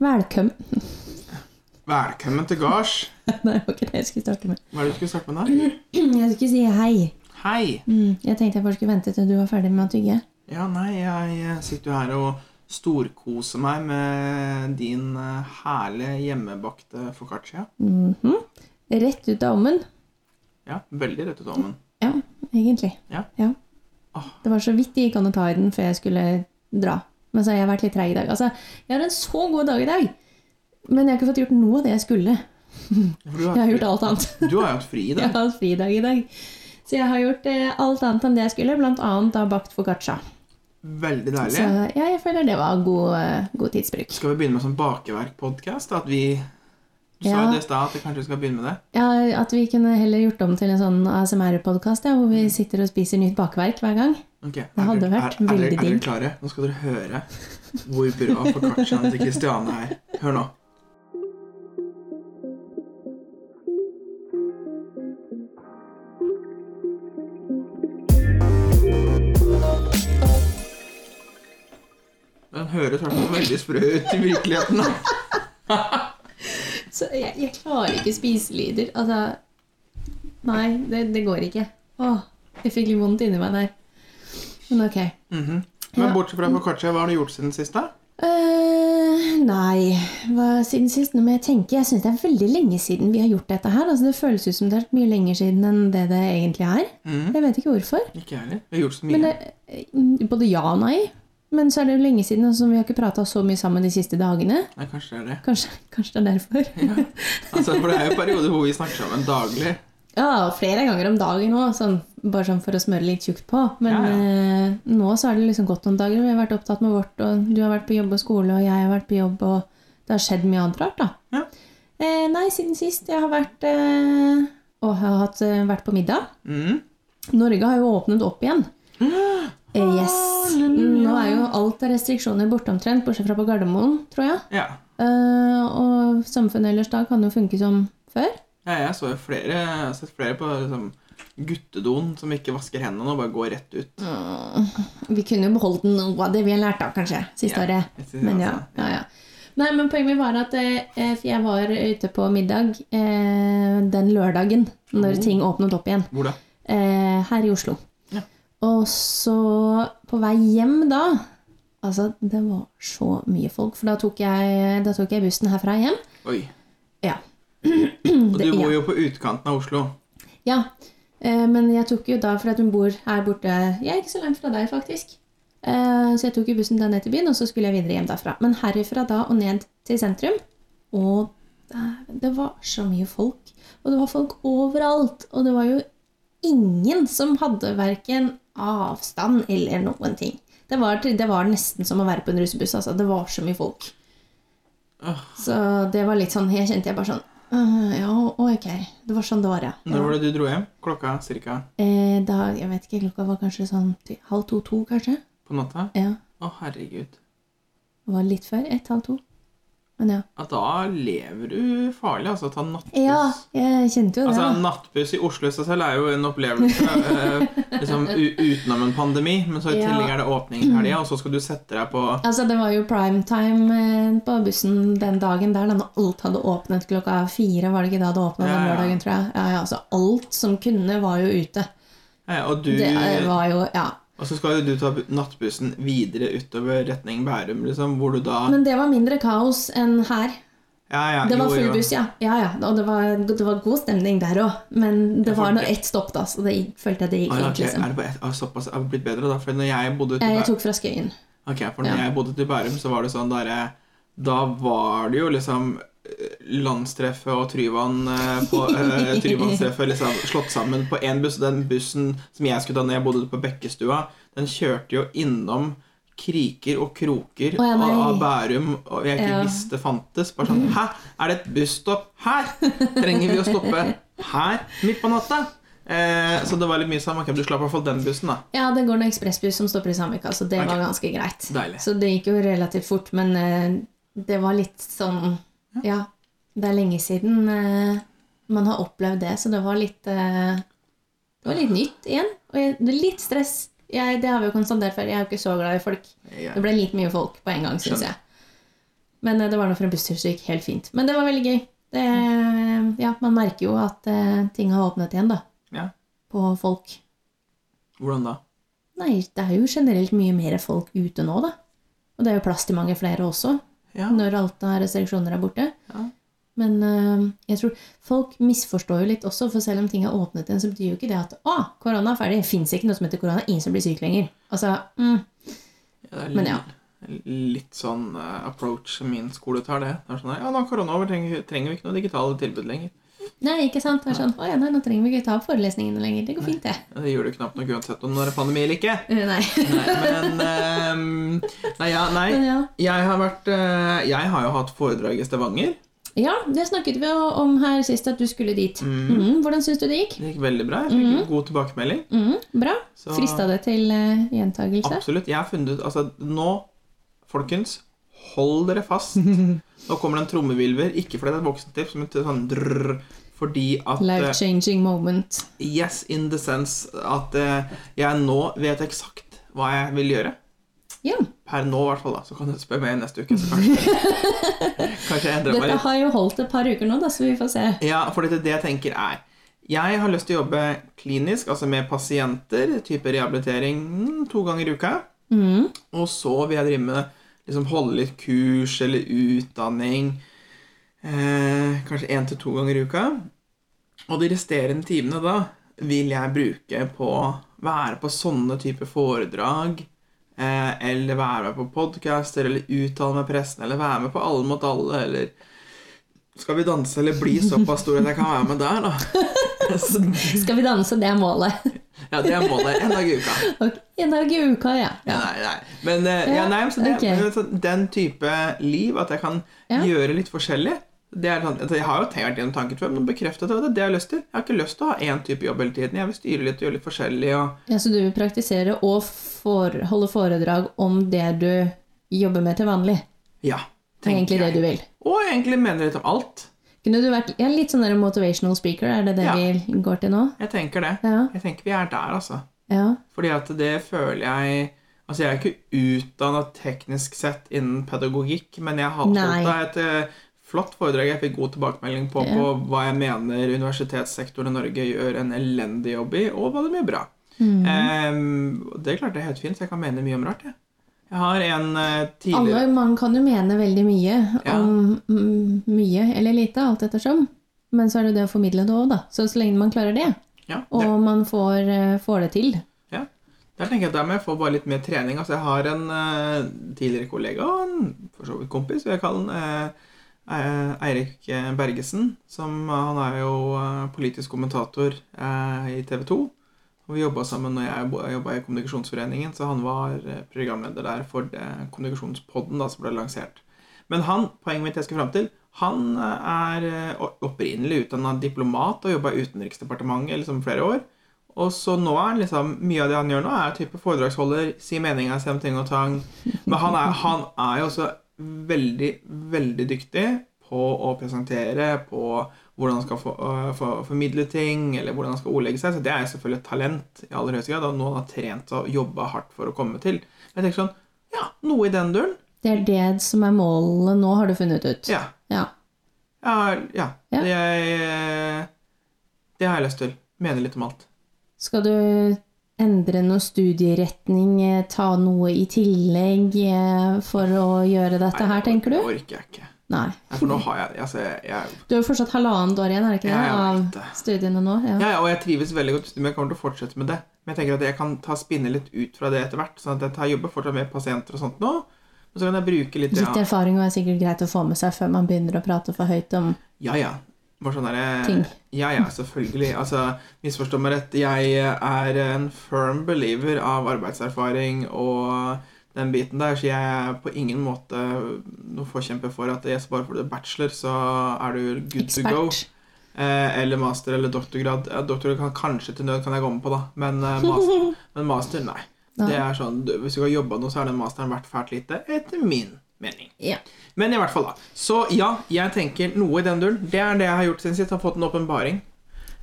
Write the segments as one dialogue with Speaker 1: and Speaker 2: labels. Speaker 1: Velkommen.
Speaker 2: Velkommen til gards.
Speaker 1: Nei, det var ikke det jeg skulle starte med.
Speaker 2: Hva er det du skulle starte med der?
Speaker 1: Jeg skulle si Mm. hei.
Speaker 2: Hei!
Speaker 1: Mm, jeg tenkte jeg bare skulle vente til du var ferdig med å tygge.
Speaker 2: Ja, nei, jeg eh, sitter jo her og storkoser meg med din eh, herlige hjemmebakte focaccia.
Speaker 1: Mhm. Rett ut av ovnen.
Speaker 2: Ja, veldig rett ut av ovnen.
Speaker 1: Ja, egentlig.
Speaker 2: Ja. Åh.
Speaker 1: Det var så vidt det gikk an å ta i den før jeg skulle dra. Men så har jeg vært litt treig i dag. Altså, jeg har en så god dag i dag, men jeg har ikke fått gjort noe av det jeg skulle.
Speaker 2: For Du
Speaker 1: Jeg har
Speaker 2: har,
Speaker 1: gjort alt annet.
Speaker 2: du har jo hatt fri i
Speaker 1: Jeg
Speaker 2: dag.
Speaker 1: har hatt fridag i dag. Så jeg har gjort eh, alt annet enn det jeg skulle, blant annet da bakt focaccia.
Speaker 2: Veldig
Speaker 1: Så
Speaker 2: deilig.
Speaker 1: ja, jeg føler det var god, eh, god tidsbruk.
Speaker 2: Skal vi begynne med sånn bakeverk-podcast? At vi... Du sa
Speaker 1: Ja.
Speaker 2: jo det i stad, at vi kanskje skal begynne med det.
Speaker 1: Ja, At vi kunne heller gjort om til en sånn ASMR-podkast, ja, hvor vi sitter og spiser nytt bakverk hver gang.
Speaker 2: Ok, er
Speaker 1: hadde
Speaker 2: dere-
Speaker 1: vært
Speaker 2: er- er dere-
Speaker 1: veldig
Speaker 2: Er
Speaker 1: digg.
Speaker 2: dere klare? Nå skal dere høre hvor bra focacciaen til Kristiane er. Hør nå. Den høres i hvert fall veldig sprø ut i virkeligheten. da.
Speaker 1: Så jeg, jeg klarer ikke spiselyder. Altså Nei, det, det går ikke. Åh, jeg fikk litt vondt inni meg der. Men ok.
Speaker 2: Mhm.
Speaker 1: Ja.
Speaker 2: Men bortsett fra focaccia, hva har du gjort siden sist? da?
Speaker 1: Eh, nei Hva, Siden sist, nå må jeg tenke. Jeg syns det er veldig lenge siden vi har gjort dette her. Altså, det føles ut som det har vært mye lenger siden enn det det egentlig er.
Speaker 2: Mhm.
Speaker 1: Jeg vet ikke hvorfor.
Speaker 2: Ikke jeg heller. Vi har gjort så mye.
Speaker 1: Men det, eh, både ja og nei. Men så er det jo lenge siden, altså, vi har ikke prata så mye sammen de siste dagene.
Speaker 2: Nei, kanskje det er det.
Speaker 1: Kanskje, kanskje det er derfor.
Speaker 2: Ja. Altså, for det er jo perioder hvor vi snakker sammen daglig.
Speaker 1: Ja, flere ganger om dagen òg, sånn, bare sånn for å smøre litt tjukt på. Men
Speaker 2: Ja,
Speaker 1: Eh, nå så har det liksom gått noen dager. Vi har vært opptatt med vårt, og du har vært på jobb og skole, og jeg har vært på jobb, og det har skjedd mye annet rart, da.
Speaker 2: Ja.
Speaker 1: Eh, nei, siden sist. Jeg har vært eh, Og har hatt, eh, vært på middag.
Speaker 2: Mhm.
Speaker 1: Norge har jo åpnet opp igjen. Eh, yes. Nå er jo alt av restriksjoner borte omtrent, bortsett fra på Gardermoen, tror jeg.
Speaker 2: Ja.
Speaker 1: Eh, og samfunnet ellers da kan jo funke som før.
Speaker 2: Ja, jeg så jo flere, jeg har sett flere på liksom, guttedoen som ikke vasker hendene og bare går rett ut.
Speaker 1: Vi kunne jo beholdt noe av det vi har lært da, kanskje, siste
Speaker 2: Ja, jeg
Speaker 1: året.
Speaker 2: synes
Speaker 1: Men
Speaker 2: det,
Speaker 1: ja, ja,
Speaker 2: altså.
Speaker 1: ja. Nei, men poenget mitt var at eh, eh, for jeg var ute på middag eh, den lørdagen når
Speaker 2: Oh.
Speaker 1: ting åpnet opp igjen,
Speaker 2: Hvor da?
Speaker 1: eh, her i Oslo.
Speaker 2: Ja.
Speaker 1: Og så på vei hjem da, altså det var så mye folk, for da tok jeg, da tok jeg bussen herfra hjem.
Speaker 2: Oi.
Speaker 1: Ja.
Speaker 2: Og du
Speaker 1: Mm, Det-
Speaker 2: bor
Speaker 1: ja.
Speaker 2: jo på utkanten av Oslo.
Speaker 1: Ja, eh, men jeg tok jo da, for at hun bor her borte Jeg er ikke så langt fra deg, faktisk. Eh, Så jeg tok jo bussen da ned til byen, og så skulle jeg videre hjem derfra. Men herifra da og ned til sentrum Og dæven, det var så mye folk. Og det var folk overalt. Og det var jo ingen som hadde verken avstand eller noen ting. Det var, det var nesten som å være på en russebuss. Altså. Det var så mye folk.
Speaker 2: Åh.
Speaker 1: Så det var litt sånn Jeg kjente jeg bare sånn «Øh, Ja, ok. Det var sånn det var, ja.
Speaker 2: Når var det du dro hjem? Klokka cirka
Speaker 1: Eh, da, jeg vet ikke, klokka var kanskje sånn ty- halv to-to, kanskje?
Speaker 2: på natta?
Speaker 1: Ja,
Speaker 2: Å, herregud.
Speaker 1: det var litt før. Ett, halv to. Men ja.
Speaker 2: Ja, da lever du farlig, altså. Ta nattbuss.
Speaker 1: Ja, jeg kjente jo det.
Speaker 2: Altså,
Speaker 1: da.
Speaker 2: Nattbuss i Oslo i seg selv er jo en opplevelse eh, liksom, u utenom en pandemi. Men så i
Speaker 1: Ja.
Speaker 2: tillegg er det åpning i helga, og så skal du sette deg på
Speaker 1: Altså, det var jo prime time eh, på bussen den dagen der, da når alt hadde åpnet klokka fire, var det ikke da det åpnet
Speaker 2: Ja,
Speaker 1: den
Speaker 2: ja.
Speaker 1: lørdagen, tror jeg. Ja, ja, altså, alt som kunne var jo ute.
Speaker 2: eh, Og du
Speaker 1: Det eh, var jo, ja.
Speaker 2: Og så skal jo du ta bu- nattbussen videre utover retning Bærum, liksom, hvor du da
Speaker 1: Men det var mindre kaos enn her.
Speaker 2: ja, ja,
Speaker 1: Det var
Speaker 2: jo,
Speaker 1: full
Speaker 2: jo.
Speaker 1: buss, ja. Ja, ja, og det var, det var god stemning der også. Men
Speaker 2: Ja,
Speaker 1: det
Speaker 2: for
Speaker 1: var nå
Speaker 2: det-
Speaker 1: ett stopp da, så det gikk- følte jeg det gikk
Speaker 2: Ah, ja,
Speaker 1: fint,
Speaker 2: ok,
Speaker 1: liksom.
Speaker 2: Er det bare ett? Ah, såpass er det blitt bedre, da? For når jeg bodde ute
Speaker 1: Eh,
Speaker 2: i
Speaker 1: Jeg
Speaker 2: Bærum,
Speaker 1: tok fra Skøyen.
Speaker 2: Ok, for når
Speaker 1: ja.
Speaker 2: jeg bodde ute i Bærum, så var det sånn der eh, Da var det jo liksom eh, Landstreffet og Tryvann eh, på eh, Tryvannstreffet liksom slått sammen på én buss. Den bussen som jeg skulle ta når jeg bodde ute på Bekkestua, den kjørte jo innom kriker og kroker
Speaker 1: Å, ja, nei.
Speaker 2: av- av Bærum, og jeg ikke
Speaker 1: Ja.
Speaker 2: visste fantes. Bare sånn Hæ, er det et busstopp her? Trenger vi å stoppe her midt på natta? Eh, så det var litt mye sånn Ok, du slapp i hvert fall den bussen, da.
Speaker 1: Ja, det går en ekspressbuss som stopper i Samvika, så det
Speaker 2: Ok.
Speaker 1: var ganske greit.
Speaker 2: Deilig.
Speaker 1: Så det gikk jo relativt fort, men eh, det var litt sånn Ja, det er lenge siden eh, man har opplevd det, så det var litt eh, Det var litt nytt igjen. Og jeg, det er litt stress. Jeg, det har vi jo konstatert før. Jeg er jo ikke så glad i folk.
Speaker 2: Ja.
Speaker 1: Det ble litt mye folk på en gang, syns
Speaker 2: Skjønner.
Speaker 1: jeg. Men eh, det var nå for en busstur, så det gikk helt fint. Men det var veldig gøy. Det, ja, man merker jo at eh, ting har åpnet igjen, da.
Speaker 2: Mm. Ja.
Speaker 1: På folk.
Speaker 2: Hvordan da?
Speaker 1: Nei, det er jo generelt mye mer folk ute nå, da. Og det er jo plass til mange flere også,
Speaker 2: Ja.
Speaker 1: når alt av restriksjoner er borte.
Speaker 2: Ja.
Speaker 1: Men eh, jeg tror folk misforstår jo litt også, for selv om ting er åpnet igjen, så betyr jo ikke det at å, korona er ferdig, fins ikke noe som heter korona, ingen som blir syk lenger. Altså, mm,
Speaker 2: Ja, det er
Speaker 1: Men ja.
Speaker 2: li- Litt sånn eh, approach min skole tar det. det er sånn, ja, nå er korona over, trenger, trenger vi ikke noe digitale tilbud lenger.
Speaker 1: nei, ikke sant? Det er sånn, å ja, nei, nå trenger vi ikke ta opp forelesningene lenger, det går fint, det.
Speaker 2: Ja, Det gjør det knapt nok uansett om det er pandemi eller ikke.
Speaker 1: Eh, Nei.
Speaker 2: Nei, men ehm, Nei, ja, nei.
Speaker 1: Men ja.
Speaker 2: Jeg har vært eh, Jeg har jo hatt foredrag i Stavanger.
Speaker 1: ja, det snakket vi jo om her sist, at du skulle dit.
Speaker 2: Mm.
Speaker 1: Mm, hvordan syns du det gikk?
Speaker 2: Det gikk veldig bra. Jeg
Speaker 1: Mhm.
Speaker 2: fikk god tilbakemelding.
Speaker 1: Mm, bra.
Speaker 2: Så
Speaker 1: Frista det til eh, gjentagelse?
Speaker 2: absolutt. Jeg har funnet ut Altså, nå, folkens, hold dere fast. Nå kommer det en trommevilver. Ikke fordi det er et voksentips, men til sånn drrr, fordi at eh,
Speaker 1: Life-changing moment.
Speaker 2: Yes, in the sense at eh, jeg nå vet eksakt hva jeg vil gjøre.
Speaker 1: Ja.
Speaker 2: Per nå, i hvert fall. da Så kan du spørre meg neste uke. Så kanskje, kanskje jeg endrer meg
Speaker 1: Dette
Speaker 2: litt.
Speaker 1: har jo holdt et par uker nå, da, så vi får se.
Speaker 2: Ja, for det, det jeg tenker, er Jeg har lyst til å jobbe klinisk, altså med pasienter, type rehabilitering mm, to ganger i uka.
Speaker 1: Mm.
Speaker 2: Og så vil jeg drive med liksom holde litt kurs eller utdanning. Eh, kanskje én til to ganger i uka. Og de resterende timene da vil jeg bruke på å være på sånne typer foredrag. Eh, eller være med på podcaster, eller uttale meg i pressen, eller være med på Alle mot alle, eller Skal vi danse, eller bli såpass stor at jeg kan være med der, da. Så,
Speaker 1: Skal vi danse? Det er målet.
Speaker 2: ja, det er målet. En dag i uka.
Speaker 1: Ok, En dag i uka, ja.
Speaker 2: Ja, nei, nei. Men, eh,
Speaker 1: Ja,
Speaker 2: ja, nei, så det,
Speaker 1: ok.
Speaker 2: men så den type liv, at jeg kan
Speaker 1: Ja.
Speaker 2: gjøre litt forskjellig det er sånn, altså, Jeg har jo tenkt gjennom tanken før, men bekreftet det. Det er det jeg har lyst til. Jeg har ikke lyst til å ha én type jobb hele tiden. Jeg vil styre litt og gjøre litt forskjellig. Og,
Speaker 1: ja så du vil praktisere og for, holde foredrag om det du jobber med til vanlig?
Speaker 2: ja,
Speaker 1: Det er egentlig
Speaker 2: tenker
Speaker 1: det du
Speaker 2: jeg.
Speaker 1: vil.
Speaker 2: Og egentlig mener litt om alt.
Speaker 1: Kunne du vært ja, litt sånn der motivational speaker? Er det det
Speaker 2: Ja.
Speaker 1: vi går til nå?
Speaker 2: Jeg tenker det.
Speaker 1: Ja.
Speaker 2: Jeg tenker vi er der, altså.
Speaker 1: ja.
Speaker 2: Fordi at det føler jeg Altså, jeg er ikke utdanna teknisk sett innen pedagogikk, men jeg har
Speaker 1: Nei.
Speaker 2: holdt av et eh, flott foredrag jeg fikk god tilbakemelding på,
Speaker 1: Ja.
Speaker 2: på hva jeg mener universitetssektoren i Norge gjør en elendig jobb i, og var det mye bra.
Speaker 1: Mm.
Speaker 2: Ehm, og det klarte jeg helt fint, så jeg kan mene mye om rart, jeg. Jeg har en eh, tidligere
Speaker 1: Alle, man kan jo mene veldig mye
Speaker 2: Ja.
Speaker 1: om mm, mye eller lite, alt ettersom. Men så er det det å formidle det òg, da. Så så lenge man klarer det,
Speaker 2: ja,
Speaker 1: og
Speaker 2: der,
Speaker 1: man får, eh, får det til
Speaker 2: der tenker jeg at der må jeg få bare litt mer trening. Altså, jeg har en eh, tidligere kollega og en for så vidt kompis, vil jeg kalle han. eh, Eh, Eirik eh, Bergesen, som eh, han er jo eh, politisk kommentator eh, i TV 2. Og vi jobba sammen når jeg bo- jobba i Kommunikasjonsforeningen, så han var eh, programleder der for eh, Kommunikasjonspodden da, som ble lansert. Men han, poenget mitt jeg skal fram til, han eh, er eh, o- opprinnelig utdanna diplomat og jobba i Utenriksdepartementet liksom flere år. Og så nå er han liksom, Mye av det han gjør nå, er type foredragsholder, si meninga si om ting og tang. Men han er, han er jo også veldig, veldig dyktig på å presentere, på hvordan han skal få, øh, få- formidle ting, eller hvordan han skal ordlegge seg. Så det er jo selvfølgelig et talent i aller høyeste grad, og noe han har trent og jobba hardt for å komme til. Jeg tenker sånn Ja, noe i den duren.
Speaker 1: Det er det som er målet nå, har du funnet ut.
Speaker 2: Ja.
Speaker 1: Ja.
Speaker 2: Ja. ja.
Speaker 1: Ja.
Speaker 2: Det, jeg, det har jeg lyst til. Mener litt om alt.
Speaker 1: Skal du endre noe studieretning, eh, ta noe i tillegg eh, for å gjøre dette her, tenker
Speaker 2: Det
Speaker 1: du?
Speaker 2: orker jeg ikke.
Speaker 1: Nei.
Speaker 2: Nei, For nå har jeg Altså, jeg, jeg
Speaker 1: Du har jo fortsatt halvannet år igjen, er det ikke
Speaker 2: Ja, jeg vet
Speaker 1: det,
Speaker 2: det.
Speaker 1: av studiene nå? Ja.
Speaker 2: Ja, ja, og jeg trives veldig godt men jeg kommer til å fortsette med det. Men jeg tenker at jeg kan ta spinne litt ut fra det etter hvert, sånn at jeg tar jobber fortsatt med pasienter og sånt nå. Men så kan jeg bruke litt
Speaker 1: Litt erfaring er sikkert greit å få med seg før man begynner å prate for høyt om
Speaker 2: Ja, ja. Bare sånn derre
Speaker 1: Ting.
Speaker 2: Ja, ja, selvfølgelig. Altså, misforstå meg rett. Jeg er en firm believer av arbeidserfaring og den biten der, så jeg er på ingen måte noen forkjemper for at yes, bare får du bachelor, så er du good to go.
Speaker 1: ekspert.
Speaker 2: Eh, eller master eller doktorgrad. Eh, Doktorgrad kan kanskje til nød kan jeg gå med på, da. Men, eh, master, men master, nei.
Speaker 1: Nei.
Speaker 2: Det er sånn, du- Hvis du har jobba noe, så er den masteren verdt fælt lite, etter min mening.
Speaker 1: Ja.
Speaker 2: Men i hvert fall, da. Så ja, jeg tenker noe i den duren. Det er det jeg har gjort siden sist. Har fått en åpenbaring.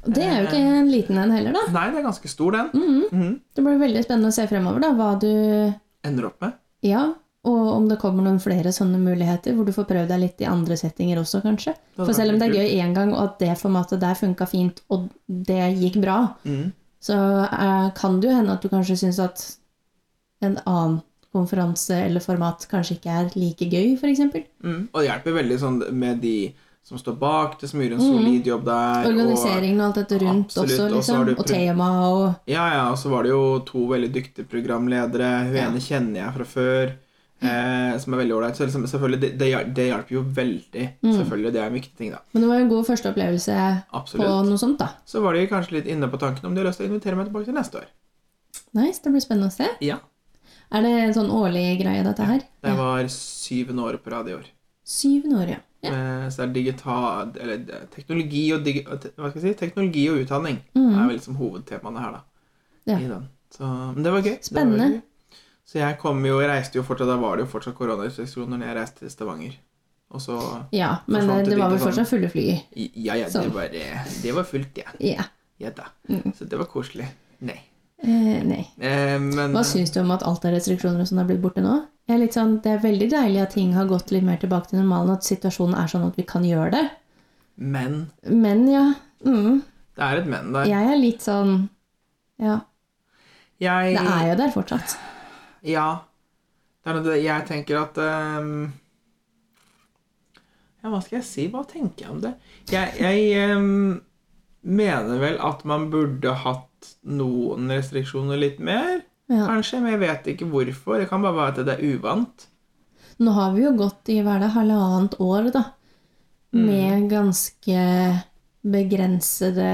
Speaker 1: Og det er jo ikke en liten en heller, da.
Speaker 2: Nei, det er ganske stor, den.
Speaker 1: Mhm.
Speaker 2: Mhm.
Speaker 1: Det blir veldig spennende å se fremover, da, hva du
Speaker 2: Ender opp med.
Speaker 1: Ja, Og om det kommer noen flere sånne muligheter, hvor du får prøvd deg litt i andre settinger også, kanskje.
Speaker 2: hadde
Speaker 1: For
Speaker 2: vært
Speaker 1: selv om det er
Speaker 2: kult.
Speaker 1: gøy én gang, og at det formatet der funka fint, og det gikk bra,
Speaker 2: Mm.
Speaker 1: så eh, kan det jo hende at du kanskje syns at en annen konferanse eller format kanskje ikke er like gøy, f.eks.
Speaker 2: Mm. Og det hjelper veldig sånn med de som står bak det, som gjør en
Speaker 1: Mm.
Speaker 2: solid jobb der. Og,
Speaker 1: Organiseringen og alt dette rundt
Speaker 2: Absolutt,
Speaker 1: også,
Speaker 2: og så
Speaker 1: liksom.
Speaker 2: har du
Speaker 1: Og
Speaker 2: prøvd-
Speaker 1: tema og
Speaker 2: ja, ja, og så var det jo to veldig dyktige programledere. Hun
Speaker 1: Ja. Mm.
Speaker 2: ene kjenner jeg fra før, eh, som er veldig ålreit. Så liksom, selvfølgelig, det, det, hjel- det hjelper jo veldig.
Speaker 1: Mm.
Speaker 2: Selvfølgelig, Det er en viktig ting, da.
Speaker 1: Men det var jo en god første opplevelse på
Speaker 2: Absolutt.
Speaker 1: noe sånt, da.
Speaker 2: Så var de kanskje litt inne på tanken om de har lyst til å invitere meg tilbake til neste år.
Speaker 1: Nice, det blir spennende å se.
Speaker 2: Ja.
Speaker 1: Er det en sånn årlig greie, dette her?
Speaker 2: Det var syvende året på rad i år.
Speaker 1: Syvende år, ja. ja.
Speaker 2: Eh, Så det er digital, eller det- teknologi og, digi, og te- hva skal jeg si? teknologi og utdanning
Speaker 1: Mm.
Speaker 2: er vel liksom hovedtemaene her, da.
Speaker 1: Ja.
Speaker 2: I den. Så, men det var gøy. Det var
Speaker 1: Spennende.
Speaker 2: veldig gøy. så jeg kom jo, jeg reaste jo fortsatt, da var det jo fortsatt koronarestriksjoner når jeg reiste til Stavanger. Og så
Speaker 1: Ja, men
Speaker 2: Forsvant
Speaker 1: det,
Speaker 2: det
Speaker 1: var vel
Speaker 2: litt og sånn.
Speaker 1: fortsatt fulle fly.
Speaker 2: Ja, ja, det
Speaker 1: Sånn.
Speaker 2: var, eh, det var fullt, ja.
Speaker 1: Ja.
Speaker 2: ja da.
Speaker 1: Mm.
Speaker 2: Så det var koselig. Nei.
Speaker 1: Eh, nei.
Speaker 2: Eh, men
Speaker 1: Hva syns du om at alt av restriksjoner og sånn er blitt borte nå? Jeg er litt sånn, det er veldig deilig at ting har gått litt mer tilbake til normalen, at situasjonen er sånn at vi kan gjøre det.
Speaker 2: Men.
Speaker 1: Men ja, mm,
Speaker 2: Det er et men der.
Speaker 1: jeg er litt sånn Ja,
Speaker 2: Jeg
Speaker 1: det er jo der fortsatt.
Speaker 2: Ja. Det er noe, det- jeg tenker at ehm, Ja, hva skal jeg si? Hva tenker jeg om det? Jeg, jeg ehm, mener vel at man burde hatt noen restriksjoner litt mer,
Speaker 1: Ja.
Speaker 2: kanskje. Men jeg vet ikke hvorfor. Det kan bare være at det er uvant.
Speaker 1: Nå har vi jo gått i hva er det, halvannet år, da, med ganske begrensede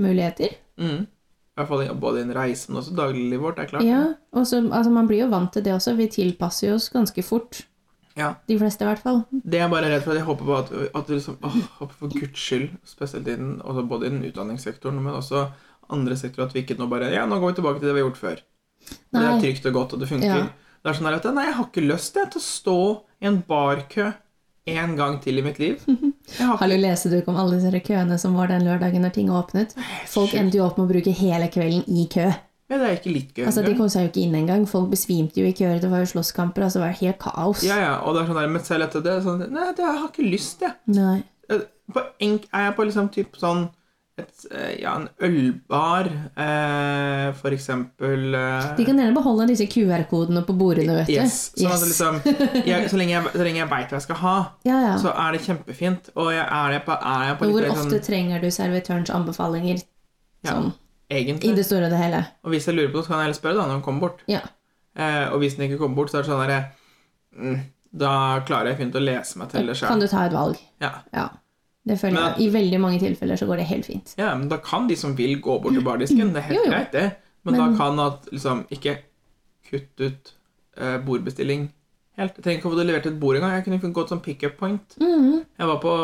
Speaker 1: muligheter.
Speaker 2: Mm. I hvert fall både innen reise, men også dagliglivet vårt. Det er klart.
Speaker 1: Ja, og så, altså Man blir jo vant til det også. Vi tilpasser jo oss ganske fort.
Speaker 2: Ja.
Speaker 1: De fleste, i hvert fall.
Speaker 2: Det er jeg bare redd for. at Jeg håper på at, at det liksom, åh, håper for guds skyld, spesielt innen, altså både innen utdanningssektoren, men også andre sektorer, at vi ikke nå bare Ja, nå går vi tilbake til det vi har gjort før. Og Det
Speaker 1: Nei.
Speaker 2: er trygt og godt, og det funker.
Speaker 1: Ja.
Speaker 2: Det er sånn her at Nei, jeg har ikke lyst jeg, til å stå i en barkø en gang til i mitt liv. Jeg har
Speaker 1: Har du lest du om alle disse køene som var den lørdagen når ting åpnet? Folk endte jo opp med å bruke hele kvelden i kø.
Speaker 2: Ja, det er ikke litt gøy
Speaker 1: Altså De
Speaker 2: engang.
Speaker 1: kom seg jo ikke inn engang. Folk besvimte jo i køer. Det var jo slåsskamper. Altså, det var helt kaos.
Speaker 2: Ja, ja, og det er sånn der, men selv etter det sånn, Nei, det, jeg har ikke lyst, jeg.
Speaker 1: Nei.
Speaker 2: på enk, er jeg på liksom typ sånn et, eh, ja, en ølbar, eh, for eksempel eh,
Speaker 1: De kan gjerne beholde disse QR-kodene på bordene, vet du.
Speaker 2: Yes. Sånn at det liksom, jeg, så lenge jeg, så lenge jeg veit hva jeg skal ha,
Speaker 1: Ja, ja.
Speaker 2: så er det kjempefint. Og jeg, er jeg på, er jeg på
Speaker 1: Men
Speaker 2: litt
Speaker 1: hvor
Speaker 2: mer sånn,
Speaker 1: ofte trenger du servitørens anbefalinger?
Speaker 2: liksom- Ja.
Speaker 1: Sånn,
Speaker 2: sånn
Speaker 1: I
Speaker 2: egentlig.
Speaker 1: det store og det hele.
Speaker 2: Og hvis jeg lurer på noe, så kan jeg heller spørre da når hun kommer bort.
Speaker 1: Ja.
Speaker 2: Eh, og hvis den ikke kommer bort, så er det sånn derre mm, Da klarer jeg fint å lese meg til det
Speaker 1: Kan
Speaker 2: sjøl.
Speaker 1: du ta et valg?
Speaker 2: Ja.
Speaker 1: Ja. Det føler
Speaker 2: Men-
Speaker 1: jeg. I veldig mange tilfeller så går det helt fint.
Speaker 2: ja, men da kan de som vil, gå bort til bardisken. Det er helt
Speaker 1: Jo, jo.
Speaker 2: greit, det. Men,
Speaker 1: Men-
Speaker 2: da kan at liksom Ikke kutt ut eh, bordbestilling helt. Jeg trenger ikke å få det levert til et bord engang. Jeg kunne gått som pickup point.
Speaker 1: Mhm,
Speaker 2: Jeg var på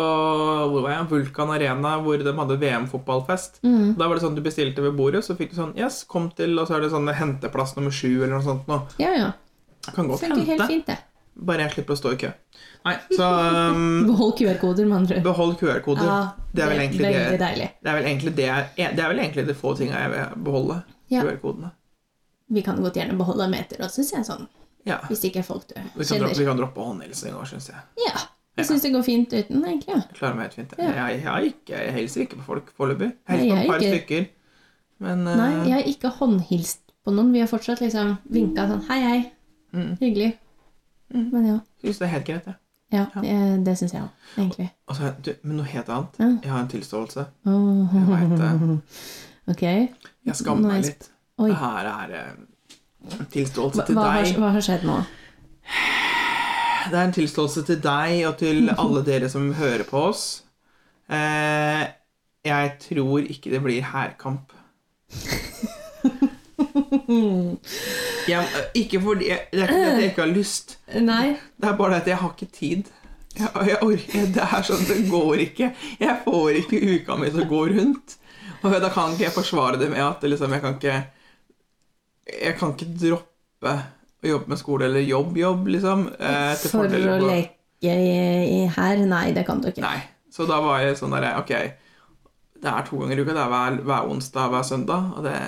Speaker 2: hvor var jeg? Vulkan Arena, hvor de hadde VM-fotballfest.
Speaker 1: mhm.
Speaker 2: Da var det sånn Du bestilte ved bordet, så fikk du sånn Yes, kom til, og så er det sånn henteplass nummer sju, eller noe sånt. Nå.
Speaker 1: Ja, ja.
Speaker 2: Jeg kan godt
Speaker 1: Funker helt
Speaker 2: hente,
Speaker 1: fint, det.
Speaker 2: bare jeg slipper å stå i kø. Nei, så um,
Speaker 1: Behold QR-koder, med andre ord.
Speaker 2: behold QR-koder.
Speaker 1: Ja,
Speaker 2: det, er vel egentlig
Speaker 1: veldig
Speaker 2: det,
Speaker 1: deilig.
Speaker 2: det er vel egentlig det jeg- Det er vel egentlig de få tinga jeg vil beholde.
Speaker 1: Ja.
Speaker 2: QR-kodene.
Speaker 1: Vi kan godt gjerne beholde en meter også, syns jeg sånn.
Speaker 2: Ja.
Speaker 1: Hvis ikke folk du
Speaker 2: Vi kan, droppe,
Speaker 1: kjenner.
Speaker 2: vi kan droppe håndhilsing òg, syns jeg.
Speaker 1: Ja. Jeg syns det går fint uten, egentlig. Ja.
Speaker 2: Jeg klarer meg helt fint.
Speaker 1: Ja.
Speaker 2: Jeg, jeg, har ikke, jeg hilser ikke på folk foreløpig. Jeg
Speaker 1: Nei,
Speaker 2: Hilser på
Speaker 1: jeg
Speaker 2: et par
Speaker 1: ikke.
Speaker 2: stykker. Men eh,
Speaker 1: Nei, jeg har ikke håndhilst på noen. Vi har fortsatt liksom vinka sånn hei, hei.
Speaker 2: Mm.
Speaker 1: Hyggelig.
Speaker 2: Mm.
Speaker 1: Men ja.
Speaker 2: jeg syns det er helt greit, jeg.
Speaker 1: Ja,
Speaker 2: Ja.
Speaker 1: eh, det syns jeg òg, egentlig.
Speaker 2: Altså, du, men noe helt annet.
Speaker 1: Ja.
Speaker 2: Jeg har en tilståelse.
Speaker 1: Åh.
Speaker 2: Jeg vet det.
Speaker 1: Ok.
Speaker 2: Jeg skammer meg
Speaker 1: Nice.
Speaker 2: litt.
Speaker 1: Oi.
Speaker 2: Det her er eh, en
Speaker 1: Hva,
Speaker 2: tilståelse Altså, til
Speaker 1: hva, har,
Speaker 2: deg.
Speaker 1: hva har skjedd nå?
Speaker 2: Det er en tilståelse til deg og til alle dere som hører på oss. Eh, jeg tror ikke det blir hærkamp. Mm. Jeg, eh, ikke fordi jeg, Det er ikke det at jeg ikke har lyst.
Speaker 1: Nei.
Speaker 2: Det er bare det at jeg har ikke tid. Jeg, jeg, orker, det er sånn, det går ikke. Jeg får ikke uka mi til å gå rundt. Og da kan ikke jeg forsvare det med at liksom, jeg kan ikke Jeg kan ikke droppe å jobbe med skole eller jobb-jobb, liksom. eh, til
Speaker 1: For
Speaker 2: fordel
Speaker 1: å
Speaker 2: for-
Speaker 1: leke i, i her? Nei, det kan du ikke.
Speaker 2: Nei. Så da var jeg sånn der Ok, det er to ganger i uka. Det er hver, hver onsdag hver søndag. Og det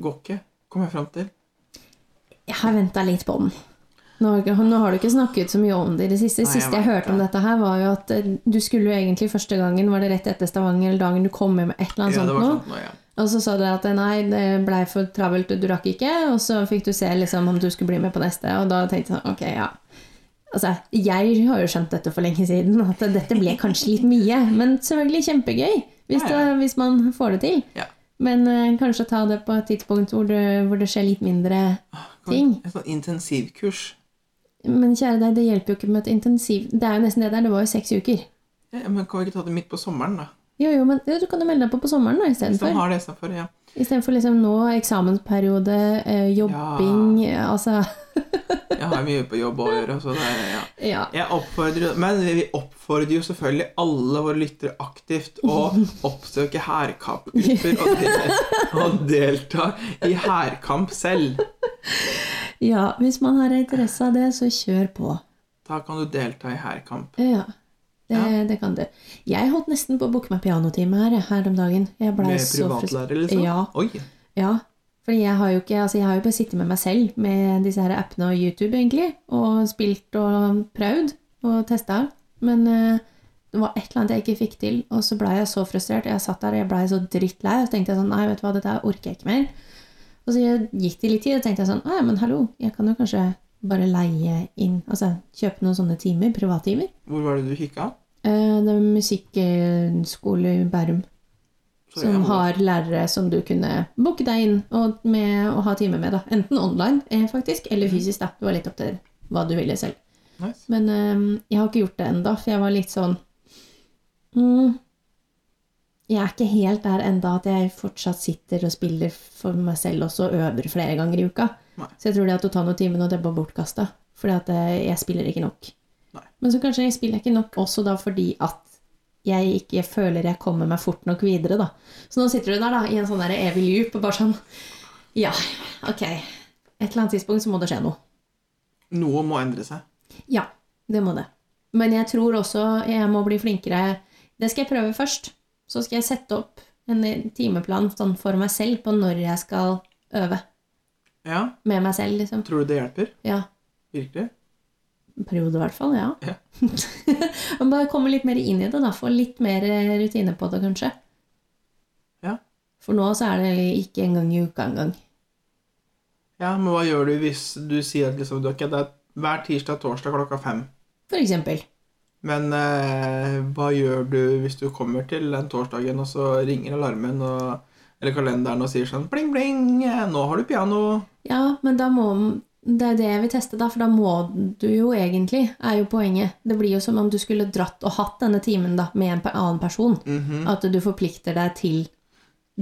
Speaker 2: går ikke, kom jeg fram til.
Speaker 1: Jeg har venta litt på den. Nå, har ikke- nå har du ikke snakket så mye om det i det siste.
Speaker 2: Nei, jeg
Speaker 1: Siste jeg
Speaker 2: vet
Speaker 1: hørte om
Speaker 2: det.
Speaker 1: dette her, var jo at eh, du skulle jo egentlig første gangen, var det rett etter Stavanger, eller dagen du kom med med et eller annet
Speaker 2: Ja, det
Speaker 1: sånt
Speaker 2: var
Speaker 1: nå.
Speaker 2: sånn nå, ja.
Speaker 1: Og så sa du at nei, det blei for travelt, du rakk ikke. Og så fikk du se liksom, om du skulle bli med på neste, og da tenkte jeg sånn, ok, ja. Altså, jeg har jo skjønt dette for lenge siden, at dette ble kanskje litt mye. Men selvfølgelig kjempegøy, hvis,
Speaker 2: Ja, ja.
Speaker 1: Det, hvis man får det til.
Speaker 2: Ja.
Speaker 1: Men eh, kanskje ta det på et tidspunkt hvor det, hvor det skjer litt mindre ting.
Speaker 2: Et sånn intensivkurs.
Speaker 1: Men kjære deg, det hjelper jo ikke med et intensiv... Det er jo nesten det der, det var jo seks uker.
Speaker 2: Ja, men kan vi ikke ta det midt på sommeren, da?
Speaker 1: Jo, jo, men jo, du kan jo melde deg på på sommeren da,
Speaker 2: Hvis de
Speaker 1: istedenfor.
Speaker 2: har det istedenfor. Ja.
Speaker 1: Istedenfor liksom nå, eksamensperiode, eh, jobbing, altså
Speaker 2: Jeg har mye på jobb å gjøre. Så det er, ja.
Speaker 1: Ja.
Speaker 2: Jeg oppfordrer, men vi oppfordrer jo selvfølgelig alle våre lyttere aktivt å oppsøke hærkampgrupper og, de- og delta i hærkamp selv.
Speaker 1: ja. Hvis man har interesse av det, så kjør på.
Speaker 2: Da kan du delta i hærkamp.
Speaker 1: Ja. Det,
Speaker 2: Ja.
Speaker 1: det kan du. Jeg holdt nesten på å booke meg pianotime her, jeg, her om dagen. Jeg ble
Speaker 2: Med
Speaker 1: så frustrert.
Speaker 2: privatlærer, liksom?
Speaker 1: Ja.
Speaker 2: Oi.
Speaker 1: Ja. Fordi jeg har jo ikke Altså, jeg har jo bare sittet med meg selv med disse her appene og YouTube, egentlig. Og spilt og prøvd og testa. Men eh, det var et eller annet jeg ikke fikk til, og så blei jeg så frustrert. Jeg satt der og jeg blei så drittlei, og så tenkte jeg sånn Nei, vet du hva, dette her orker jeg ikke mer. Og så gikk det litt tid, og tenkte jeg sånn «Å ja, men hallo, jeg kan jo kanskje bare leie inn Altså kjøpe noen sånne timer, privattimer.
Speaker 2: Hvor var det du kikka?
Speaker 1: Eh, Det er musikkskole i Bærum
Speaker 2: Sorry, jeg
Speaker 1: som
Speaker 2: må-
Speaker 1: har lærere som du kunne booke deg inn og, med, og ha time med. da. Enten online eh, faktisk, eller fysisk. da. Det var litt opp til hva du ville selv.
Speaker 2: Nice.
Speaker 1: Men eh, jeg har ikke gjort det enda, for jeg var litt sånn mm, Jeg er ikke helt der enda at jeg fortsatt sitter og spiller for meg selv også, og øver flere ganger i uka.
Speaker 2: Nei.
Speaker 1: Så jeg tror det at å ta noen timer nå, det er bare bortkasta. Fordi at eh, jeg spiller ikke nok.
Speaker 2: Nei.
Speaker 1: Men så kanskje jeg spiller ikke nok også da fordi at jeg ikke jeg føler jeg kommer meg fort nok videre, da. Så nå sitter du der da, i en sånn der evig loop og bare sånn Ja, ok. Et eller annet tidspunkt så må det skje noe.
Speaker 2: Noe må endre seg.
Speaker 1: Ja, det må det. Men jeg tror også jeg må bli flinkere. Det skal jeg prøve først. Så skal jeg sette opp en timeplan sånn for meg selv på når jeg skal øve.
Speaker 2: Ja,
Speaker 1: Med meg selv, liksom.
Speaker 2: Tror du det hjelper?
Speaker 1: Ja.
Speaker 2: Virkelig?
Speaker 1: Periode, i hvert fall. Ja.
Speaker 2: Ja.
Speaker 1: Man bare komme litt mer inn i det, da. Få litt mer eh, rutine på det, kanskje.
Speaker 2: Ja.
Speaker 1: For nå så er det ikke en gang i uka engang.
Speaker 2: Ja, Men hva gjør du hvis du sier at liksom, du har ikke det er hver tirsdag og torsdag klokka fem?
Speaker 1: For eksempel.
Speaker 2: Men eh, hva gjør du hvis du kommer til den torsdagen, og så ringer alarmen og, eller kalenderen og sier sånn bling, bling, eh, nå har du piano.
Speaker 1: Ja, men da må Det er det jeg vil teste, da, for da må du jo egentlig, er jo poenget. Det blir jo som om du skulle dratt og hatt denne timen da, med en pe- annen person. At du forplikter deg til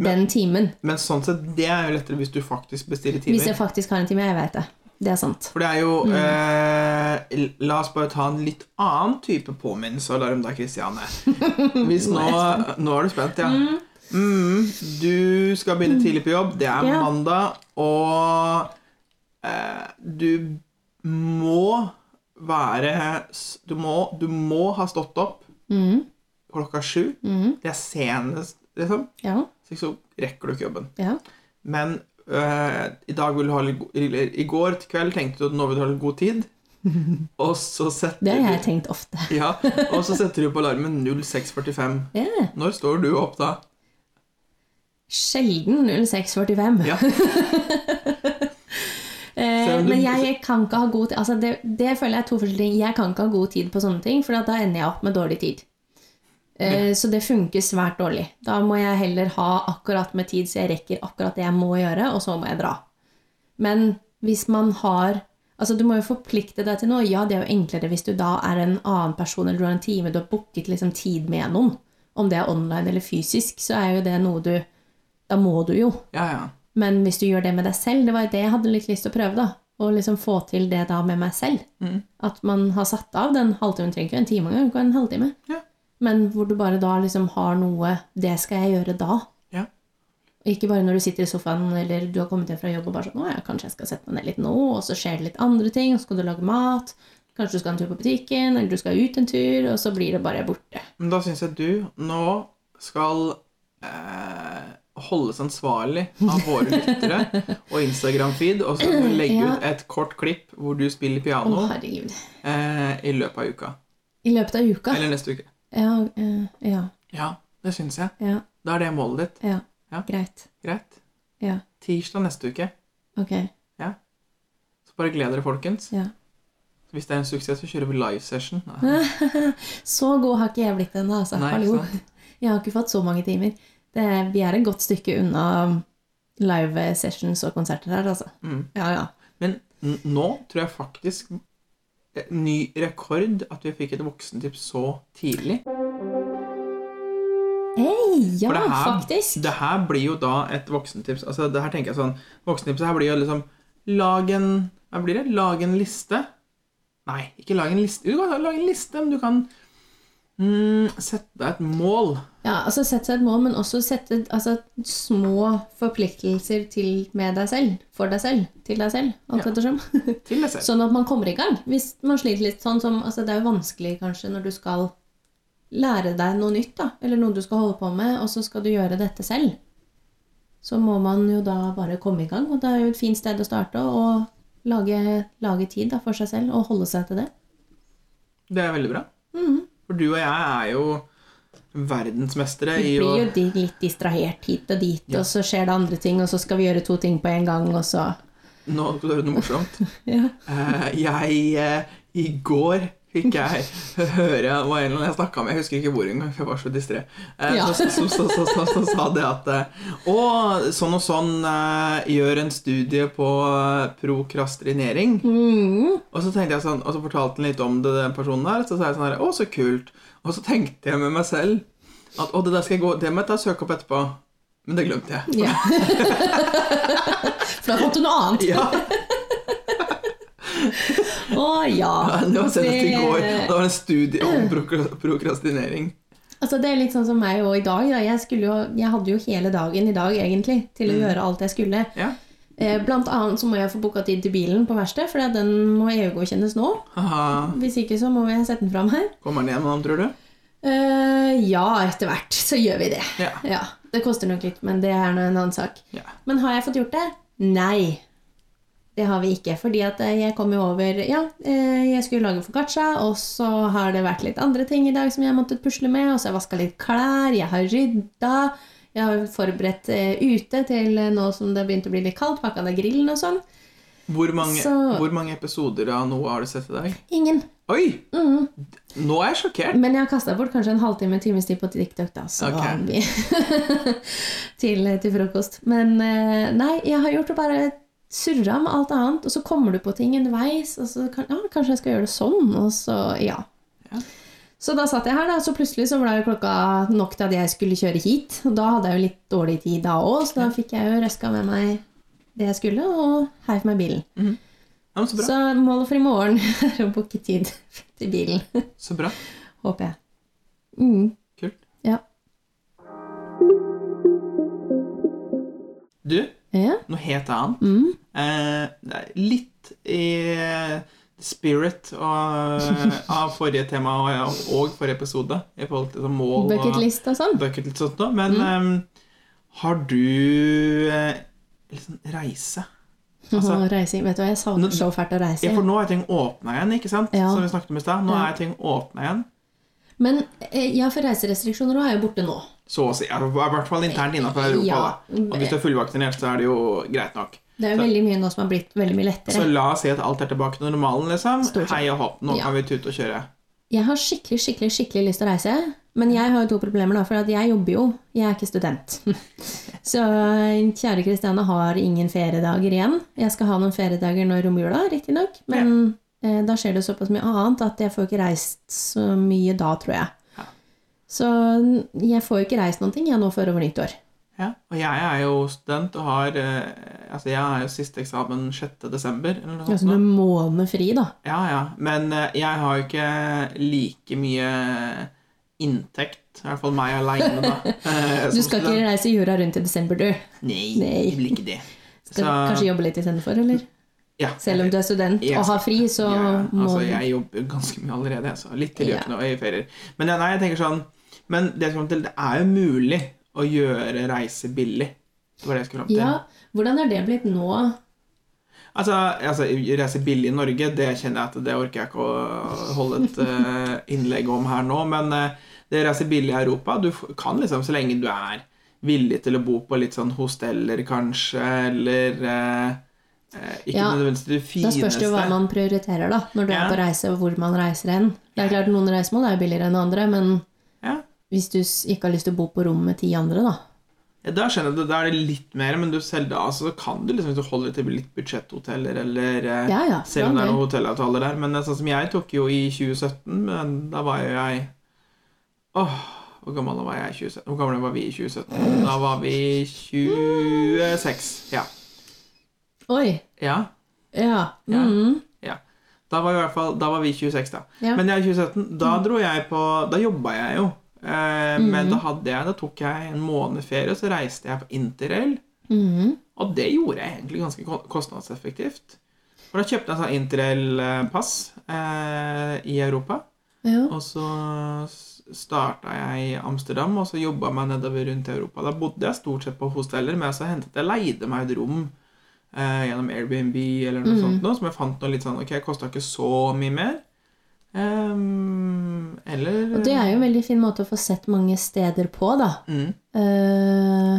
Speaker 1: den timen.
Speaker 2: Mhm. Men sånn sett, det er jo lettere hvis du faktisk bestiller
Speaker 1: Hvis
Speaker 2: timer.
Speaker 1: jeg faktisk har en time. Jeg vet det. Det er sant.
Speaker 2: For det er jo eh, La oss bare ta en litt annen type påminnelse og alarm da, Kristiane. Hvis nå Nå er du spent, ja. Mm, du skal begynne tidlig på jobb. Det er
Speaker 1: Ja.
Speaker 2: mandag, og eh, du må være s- du må, du må ha stått opp
Speaker 1: Mm,
Speaker 2: klokka sju.
Speaker 1: mm,
Speaker 2: Det er senest, liksom.
Speaker 1: ja,
Speaker 2: Så ikke så rekker du ikke jobben.
Speaker 1: ja.
Speaker 2: Men eh, i dag vil du ha litt go- eller I går til kveld tenkte du at nå vil du ha litt god tid. Og så setter
Speaker 1: Det har jeg
Speaker 2: du
Speaker 1: tenkt ofte.
Speaker 2: ja, Og så setter du på alarmen 06.45.
Speaker 1: Ja.
Speaker 2: Når står du opp da?
Speaker 1: Sjelden 0645.
Speaker 2: Ja.
Speaker 1: Eh,
Speaker 2: om du-
Speaker 1: men jeg kan ikke ha god tid altså det, det føler jeg er to forskjellige ting. Jeg kan ikke ha god tid på sånne ting, for at da ender jeg opp med dårlig tid. Eh, Så det funker svært dårlig. Da må jeg heller ha akkurat med tid, så jeg rekker akkurat det jeg må gjøre, og så må jeg dra. Men hvis man har Altså, du må jo forplikte deg til noe. Ja, det er jo enklere hvis du da er en annen person, eller du har en time, du har booket liksom tid med noen. Om det er online eller fysisk, så er jo det noe du Da må du jo.
Speaker 2: Ja, ja.
Speaker 1: Men hvis du gjør det med deg selv, det var jo det jeg hadde litt lyst til å prøve, da. Å liksom få til det da med meg selv.
Speaker 2: Mm.
Speaker 1: At man har satt av den halvtimen, trenger ikke en time engang, det kan være en halvtime.
Speaker 2: Ja.
Speaker 1: Men hvor du bare da liksom har noe Det skal jeg gjøre da.
Speaker 2: Ja.
Speaker 1: Og ikke bare når du sitter i sofaen eller du har kommet hjem fra jobb og bare sånn Å ja, kanskje jeg skal sette meg ned litt nå, og så skjer det litt andre ting, og så skal du lage mat. Kanskje du skal en tur på butikken, eller du skal ut en tur, og så blir det bare borte.
Speaker 2: Men da syns jeg du nå skal eh, holdes ansvarlig av våre lyttere og Instagram-feed, og så skal vi legge
Speaker 1: Ja.
Speaker 2: ut et kort klipp hvor du spiller
Speaker 1: Å,
Speaker 2: piano
Speaker 1: herregud.
Speaker 2: eh, i løpet av uka.
Speaker 1: I løpet av uka?
Speaker 2: Eller neste uke.
Speaker 1: Ja, eh, ja,
Speaker 2: Ja, det syns jeg.
Speaker 1: ja,
Speaker 2: Da er det målet ditt.
Speaker 1: ja.
Speaker 2: Ja.
Speaker 1: Greit.
Speaker 2: Greit.
Speaker 1: Ja.
Speaker 2: Tirsdag neste uke.
Speaker 1: Ok.
Speaker 2: Så bare gled dere, folkens.
Speaker 1: Ja.
Speaker 2: Hvis det er en suksess, så kjører vi live session. Nei.
Speaker 1: Så god har ikke jeg blitt ennå, altså.
Speaker 2: Nei, ikke
Speaker 1: Hallo. Jeg har ikke fått så mange timer. Det, vi er et godt stykke unna live sessions og konserter her, altså.
Speaker 2: Mm.
Speaker 1: Ja, ja.
Speaker 2: Men n- nå tror jeg faktisk eh, ny rekord at vi fikk et voksentips så tidlig.
Speaker 1: Ja,
Speaker 2: For det her-
Speaker 1: faktisk.
Speaker 2: Det her blir jo da et voksentips. Altså, det her tenker jeg sånn Voksentipset her blir jo liksom Lag en Hva blir det? Lag en liste. Nei, ikke lag en liste. Du kan lage en liste, men du kan mm, sette deg et mål.
Speaker 1: Ja, altså Sette seg et mål, men også sette altså, små forpliktelser til med deg selv. For deg selv. Til deg selv. Alt
Speaker 2: Ja.
Speaker 1: ettersom.
Speaker 2: til deg selv.
Speaker 1: Sånn at man kommer i gang. Hvis man sliter litt sånn som altså Det er jo vanskelig kanskje når du skal lære deg noe nytt, da. Eller noe du skal holde på med, og så skal du gjøre dette selv. Så må man jo da bare komme i gang, og det er jo et fint sted å starte. Og lage, lage tid da, for seg selv, og holde seg til det.
Speaker 2: Det er veldig bra.
Speaker 1: Mhm.
Speaker 2: For du og jeg er jo verdensmestere
Speaker 1: Vi
Speaker 2: i å
Speaker 1: blir jo di- litt distrahert hit og dit,
Speaker 2: Ja.
Speaker 1: og så skjer det andre ting, og så skal vi gjøre to ting på en gang, og så
Speaker 2: Nå skal du høre noe morsomt.
Speaker 1: ja.
Speaker 2: Eh, jeg eh, I går fikk jeg høre det var en eller annen jeg snakka med, jeg husker ikke hvor engang, for jeg var så distré, eh,
Speaker 1: Ja.
Speaker 2: som som- som- som- som- som sa det at eh, Å, sånn og sånn eh, gjør en studie på eh, prokrastinering.
Speaker 1: Mhm.
Speaker 2: Og så tenkte jeg sånn, og så fortalte han litt om det, den personen der, så sa jeg sånn her, å, så kult. Og så tenkte jeg med meg selv at, å, det der skal jeg gå, det må jeg ta og søke opp etterpå. Men det glemte jeg.
Speaker 1: ja. For da fant du noe annet.
Speaker 2: Ja,
Speaker 1: Å ja.
Speaker 2: det var senest i
Speaker 1: Det-
Speaker 2: går. og Det var en studie om prokra- prokrastinering.
Speaker 1: Altså, det er litt sånn som meg og i dag. Da. Jeg, skulle jo, jeg hadde jo hele dagen i dag egentlig til å gjøre alt jeg skulle.
Speaker 2: Ja.
Speaker 1: Eh, Blant annet så må jeg få booka tid til bilen på verksted, for den må EU-godkjennes nå.
Speaker 2: Haha.
Speaker 1: Hvis ikke så må jeg sette den fram her.
Speaker 2: Kommer han hjem nå, tror du?
Speaker 1: Eh, ja, etter hvert så gjør vi det.
Speaker 2: Ja.
Speaker 1: Ja, Det koster nok litt, men det er nå en annen sak.
Speaker 2: Ja.
Speaker 1: Men har jeg fått gjort det? Nei. Det har vi ikke. Fordi at eh, jeg kom jo over Ja, eh, jeg skulle lage foccaccia, og så har det vært litt andre ting i dag som jeg måtte pusle med. Og så har jeg vaska litt klær, jeg har rydda, jeg har forberedt eh, ute til eh, nå som det begynte å bli litt kaldt, pakka ned grillen og sånn.
Speaker 2: Hvor mange,
Speaker 1: Så-
Speaker 2: hvor mange episoder av noe har du sett i dag?
Speaker 1: Ingen.
Speaker 2: Oi!
Speaker 1: Mm.
Speaker 2: Nå er jeg sjokkert.
Speaker 1: Men jeg har kasta bort kanskje en halvtime, en times tid på TikTok, da. Så
Speaker 2: Ok.
Speaker 1: vi til, til frokost. Men eh, nei, jeg har gjort det bare surra med alt annet, og så kommer du på ting underveis, og så kan, ja, kanskje jeg skal gjøre det sånn, og så ja.
Speaker 2: Ja.
Speaker 1: Så da satt jeg her, da, og så plutselig så ble jo klokka nok til at jeg skulle kjøre hit. Og da hadde jeg jo litt dårlig tid da òg, så da fikk jeg jo røska med meg det jeg skulle, og heiv meg i bilen.
Speaker 2: Ja, men så bra.
Speaker 1: Så målet for i morgen er å booke tid til bilen.
Speaker 2: Så bra.
Speaker 1: Håper jeg. Mm.
Speaker 2: Kult.
Speaker 1: Ja.
Speaker 2: Du,
Speaker 1: Ja.
Speaker 2: noe helt annet.
Speaker 1: Mm.
Speaker 2: Eh, det er litt i spirit og, av forrige tema og, og forrige episode i forhold til sånn mål og
Speaker 1: Bucketlist og sånn.
Speaker 2: bucket list og sånt noe. Men
Speaker 1: Mm.
Speaker 2: eh, har du eh, liksom reise? Altså,
Speaker 1: Åh, reising. Vet du hva, jeg
Speaker 2: Nå-
Speaker 1: savner så fælt å reise.
Speaker 2: ja, for nå er ting åpna igjen, ikke sant?
Speaker 1: Ja.
Speaker 2: Som vi snakket om i stad. Nå
Speaker 1: Ja.
Speaker 2: er ting åpna igjen.
Speaker 1: Men eh, ja, for reiserestriksjoner også er jo borte nå.
Speaker 2: Så å si. ja, I hvert fall internt innenfor Europa.
Speaker 1: Ja.
Speaker 2: Da. Og hvis du er fullvaksinert, så er det jo greit nok.
Speaker 1: Det er jo
Speaker 2: Så- Altså-
Speaker 1: veldig mye nå som har blitt veldig mye
Speaker 2: Så
Speaker 1: lettere.
Speaker 2: la oss si at alt er tilbake til normalen, liksom.
Speaker 1: Stort sett.
Speaker 2: Hei og hopp, nå
Speaker 1: Ja.
Speaker 2: kan vi tute og kjøre.
Speaker 1: Jeg har skikkelig skikkelig, skikkelig lyst til å reise, men jeg har jo to problemer. da, For at jeg jobber jo, jeg er ikke student. Så eh, kjære Kristiane har ingen feriedager igjen. Jeg skal ha noen feriedager nå i romjula, riktignok. Men eh, da skjer det såpass mye annet at jeg får ikke reist så mye da, tror jeg.
Speaker 2: Ja.
Speaker 1: Så jeg får jo ikke reist noen ting jeg nå før over nyttår.
Speaker 2: Ja, og jeg er jo student og har eh, Altså, jeg har jo siste eksamen 6. desember, eller noe
Speaker 1: Altså
Speaker 2: sånt.
Speaker 1: med måned fri, da.
Speaker 2: Ja, ja. Men eh, jeg har jo ikke like mye inntekt. I hvert fall meg aleine, da. eh,
Speaker 1: Du
Speaker 2: som
Speaker 1: skal
Speaker 2: student.
Speaker 1: ikke reise jorda rundt i desember, du.
Speaker 2: Nei,
Speaker 1: Nei.
Speaker 2: jeg vil ikke det.
Speaker 1: Skal
Speaker 2: Så-
Speaker 1: kanskje jobbe litt istedenfor, eller?
Speaker 2: Ja.
Speaker 1: Selv om du er student
Speaker 2: Jeg
Speaker 1: og har fri, så
Speaker 2: ja, ja.
Speaker 1: må
Speaker 2: Altså,
Speaker 1: du
Speaker 2: jeg jobber ganske mye allerede, så litt til
Speaker 1: Ja.
Speaker 2: gjøkene og i ferier. Men ja, nei, jeg tenker sånn Men det som til, det er jo mulig å gjøre reise billig. Det var det jeg skulle fram til.
Speaker 1: Ja, hvordan er det blitt nå?
Speaker 2: Altså, altså, reise billig i Norge, det kjenner jeg at det orker jeg ikke å holde et eh, innlegg om her nå. Men eh, det reise billig i Europa, du f- kan liksom, så lenge du er villig til å bo på litt sånn hosteller, kanskje, eller eh, eh, Ikke
Speaker 1: Ja,
Speaker 2: nødvendigvis det fineste.
Speaker 1: Da spørs det jo hva man prioriterer, da. Når du
Speaker 2: Ja.
Speaker 1: er på reise, og hvor man reiser hen. Det er klart noen reisemål er jo billigere enn andre, men
Speaker 2: Ja.
Speaker 1: hvis du s- ikke har lyst til å bo på rom med ti andre, da.
Speaker 2: Ja, Da skjønner jeg det. Da er det litt mer, men du selv da altså, så kan du liksom, hvis du holder til litt budsjetthoteller eller eh,
Speaker 1: Ja, ja.
Speaker 2: Selv om det
Speaker 1: for
Speaker 2: er
Speaker 1: all
Speaker 2: noen
Speaker 1: del.
Speaker 2: hotellavtaler der. Men eh, sånn som jeg tok jo i 2017, men da var jo jeg Åh, hvor gammel var jeg i 2017? Hvor gamle var vi i 2017? Da var vi 26. Ja.
Speaker 1: Oi!
Speaker 2: ja.
Speaker 1: Ja.
Speaker 2: Ja.
Speaker 1: mhm.
Speaker 2: Da var, vi i hvert fall, da var vi 26, da.
Speaker 1: Ja. Mm.
Speaker 2: Men jeg i 2017, da dro jeg på Da jobba jeg jo. Eh, Men da hadde jeg Da tok jeg en måned ferie, og så reiste jeg på interrail.
Speaker 1: Mhm.
Speaker 2: Og det gjorde jeg egentlig ganske ko- kostnadseffektivt. For da kjøpte jeg sånn interrail-pass eh, i Europa.
Speaker 1: ja.
Speaker 2: Og så starta jeg i Amsterdam, og så jobba jeg meg nedover rundt Europa. Da bodde jeg stort sett på hosteller, men så hentet jeg leide meg et rom eh, gjennom Airbnb eller noe
Speaker 1: Mm.
Speaker 2: sånt, noe, som jeg fant noe litt sånn Ok, kosta ikke så mye mer. Ehm, eller
Speaker 1: Og det er jo en veldig fin måte å få sett mange steder på, da.
Speaker 2: mm.
Speaker 1: Eh,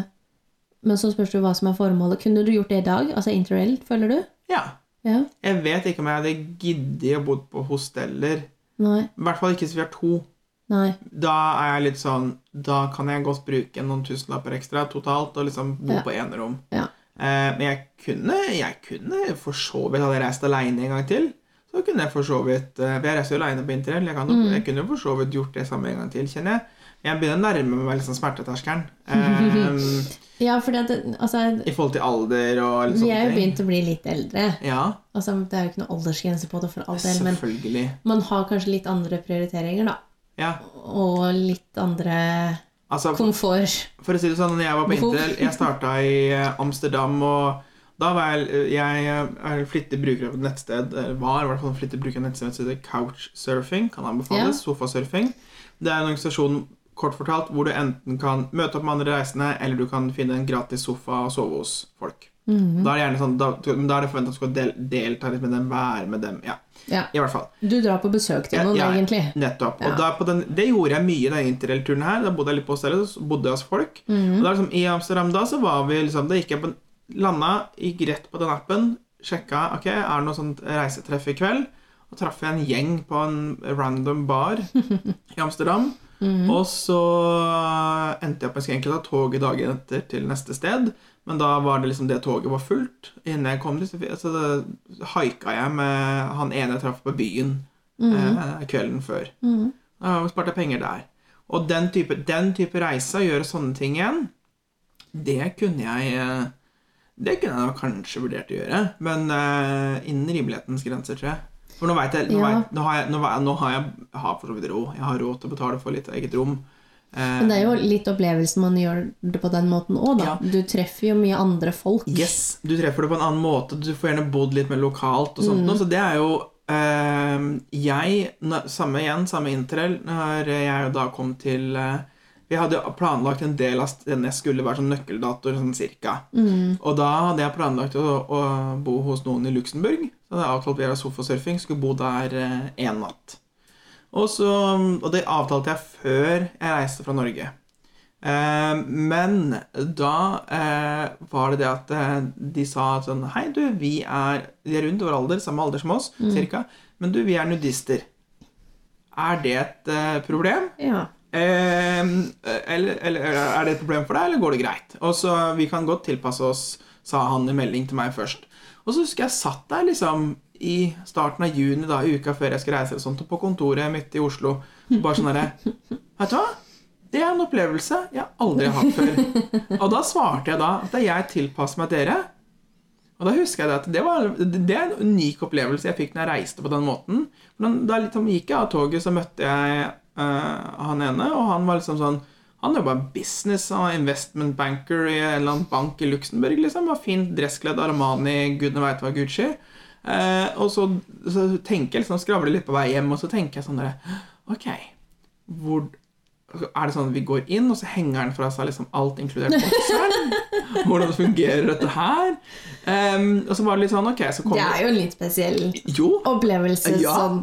Speaker 1: men så spørs det hva som er formålet. Kunne du gjort det i dag? Altså interrail, føler du?
Speaker 2: Ja.
Speaker 1: Ja?
Speaker 2: Jeg vet ikke om jeg hadde giddet å bo på hosteller.
Speaker 1: Nei?
Speaker 2: I hvert fall ikke hvis vi er to.
Speaker 1: Nei.
Speaker 2: Da er jeg litt sånn Da kan jeg godt bruke noen tusenlapper ekstra totalt og liksom bo
Speaker 1: Ja.
Speaker 2: på enerom.
Speaker 1: Ja.
Speaker 2: Eh, men jeg kunne, jeg kunne for så vidt Hadde jeg reist aleine en gang til, så kunne jeg for så vidt eh, for Jeg reiser jo aleine på interrail. Jeg, kan, jo-
Speaker 1: Mm.
Speaker 2: jeg kunne jo for så vidt gjort det samme en gang til, kjenner jeg. Men jeg begynner å nærme meg liksom smerteterskelen. Eh,
Speaker 1: Ja, for det, altså,
Speaker 2: I forhold til alder og litt
Speaker 1: vi er jo
Speaker 2: sånne ting.
Speaker 1: begynt å bli litt eldre.
Speaker 2: Ja,
Speaker 1: Altså, det er jo ikke noe aldersgrense på det for all del, men
Speaker 2: selvfølgelig.
Speaker 1: man har kanskje litt andre prioriteringer, da.
Speaker 2: Ja,
Speaker 1: Og litt andre
Speaker 2: altså
Speaker 1: komfort.
Speaker 2: For å si det sånn, når jeg var på
Speaker 1: Behov.
Speaker 2: Interrail Jeg starta i eh, Amsterdam, og da var jeg, eh, jeg er flittig bruker av et nettsted eh, Var i hvert fall en flittig bruker av et nettsted som heter Couchsurfing. Kan anbefales. Sofasurfing. Det er en organisasjon kort fortalt, hvor du enten kan møte opp med andre reisende, eller du kan finne en gratis sofa og sove hos folk.
Speaker 1: Mhm.
Speaker 2: Da er det gjerne sånn, da, men da er det forventa at du skal del, delta litt med dem, være med dem. Ja,
Speaker 1: Ja.
Speaker 2: i hvert fall.
Speaker 1: Du drar på besøk til
Speaker 2: Ja,
Speaker 1: noen,
Speaker 2: ja.
Speaker 1: egentlig.
Speaker 2: Nettopp.
Speaker 1: Ja.
Speaker 2: Og da på den, det gjorde jeg mye i den interrailturen her. Da bodde jeg litt på stedet, så bodde jeg hos folk.
Speaker 1: Mhm.
Speaker 2: Og da, liksom, I Amsterdam da så var vi liksom Da gikk jeg på landa, gikk rett på den appen, sjekka ok, er det noe sånt reisetreff i kveld. Og traff jeg en gjeng på en random bar i Amsterdam.
Speaker 1: Mhm. Mm.
Speaker 2: Og så endte jeg på en skrenkel av toget dagen etter til neste sted. Men da var det liksom det toget var fullt. Innen jeg kom dit, så fi- så det- haika jeg med han ene jeg traff på byen
Speaker 1: Mm.
Speaker 2: eh, kvelden før.
Speaker 1: Mhm.
Speaker 2: Da sparte jeg penger der. Og den type, den type reise, å gjøre sånne ting igjen, det kunne jeg eh, Det kunne jeg nok kanskje vurdert å gjøre, men eh, innen rimelighetens grenser, tror jeg. For nå vet jeg, nå,
Speaker 1: Ja.
Speaker 2: vet, nå har jeg, nå, har jeg- nå har jeg, jeg har for så vidt råd. Jeg har råd til å betale for litt eget rom. Eh,
Speaker 1: Men det er jo litt opplevelsen man gjør det på den måten òg, da.
Speaker 2: Ja.
Speaker 1: Du treffer jo mye andre folk.
Speaker 2: Yes, du treffer det på en annen måte. Du får gjerne bodd litt mer lokalt og sånt. noe, Så det er jo eh, Jeg, når- samme igjen, samme interrail, når jeg da kom til eh, Vi hadde jo planlagt en del av stedene jeg skulle være sånn nøkkeldatoer, sånn cirka.
Speaker 1: Mm.
Speaker 2: Og da hadde jeg planlagt å, å bo hos noen i Luxembourg. Så hadde jeg avtalt via sofasurfing, skulle bo der eh, en natt. Og, så, og det avtalte jeg før jeg reiste fra Norge. Eh, men da eh, var det det at eh, de sa at sånn Hei, du, vi er, de er rundt vår alder, samme alder som oss, cirka. Men du, vi er nudister. Er det et eh, problem?
Speaker 1: Ja.
Speaker 2: Eh, eller, eller er det et problem for deg, eller går det greit? Og så Vi kan godt tilpasse oss, sa han i melding til meg først. Og så husker jeg satt der liksom i starten av juni, da, uka før jeg skulle reise, eller sånt, og på kontoret midt i Oslo. Bare sånn herre Vet du hva? Det er en opplevelse jeg aldri har hatt før. Og da svarte jeg da at jeg tilpasser meg dere. Og da husker jeg det at det, var, det er en unik opplevelse jeg fikk når jeg reiste på den måten. Men da liksom gikk jeg av toget, så møtte jeg eh, han ene, og han var liksom sånn Han jobba business og investment banker i en eller annen bank i Luxembourg. Liksom, var fint dresskledd Armani, gudene veit hva Gucci. Eh, og så, så tenker jeg liksom, skravler litt på vei hjem, og så tenker jeg sånn der, Ok, hvor Er det sånn at vi går inn, og så henger den fra seg liksom alt inkludert bokseren? Hvordan fungerer dette her? Ehm, og så var det litt sånn Ok, så
Speaker 1: Det
Speaker 2: kommer
Speaker 1: er jo en litt spesiell
Speaker 2: Jo!
Speaker 1: opplevelse
Speaker 2: Ja.
Speaker 1: sånn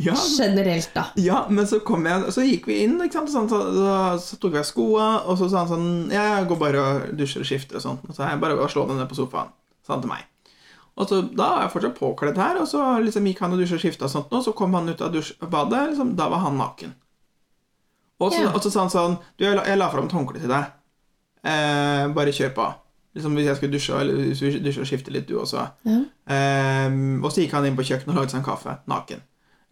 Speaker 2: Ja,
Speaker 1: generelt, da.
Speaker 2: ja, men så kom jeg Så gikk vi inn, ikke sant? Sånn, så, så, så tok vi av skoa, og så sa han sånn Ja, jeg går bare og dusjer og skifter og sånn. Og så er jeg bare å slå den ned på sofaen, sa han til meg. Og så Da var jeg fortsatt påkledd her, og så liksom gikk han og dusja og skifta og sånt, og så kom han ut av dusjbadet, liksom, da var han naken. Og så,
Speaker 1: Ja.
Speaker 2: og så sa han sånn Du, jeg la, jeg la fram et håndkle til deg. Eh, bare kjør på. Liksom Hvis jeg skulle dusje, eller hvis vi dusjer og skifter litt, du også.
Speaker 1: Ja.
Speaker 2: Ehm, og så gikk han inn på kjøkkenet og lagde seg en kaffe, naken.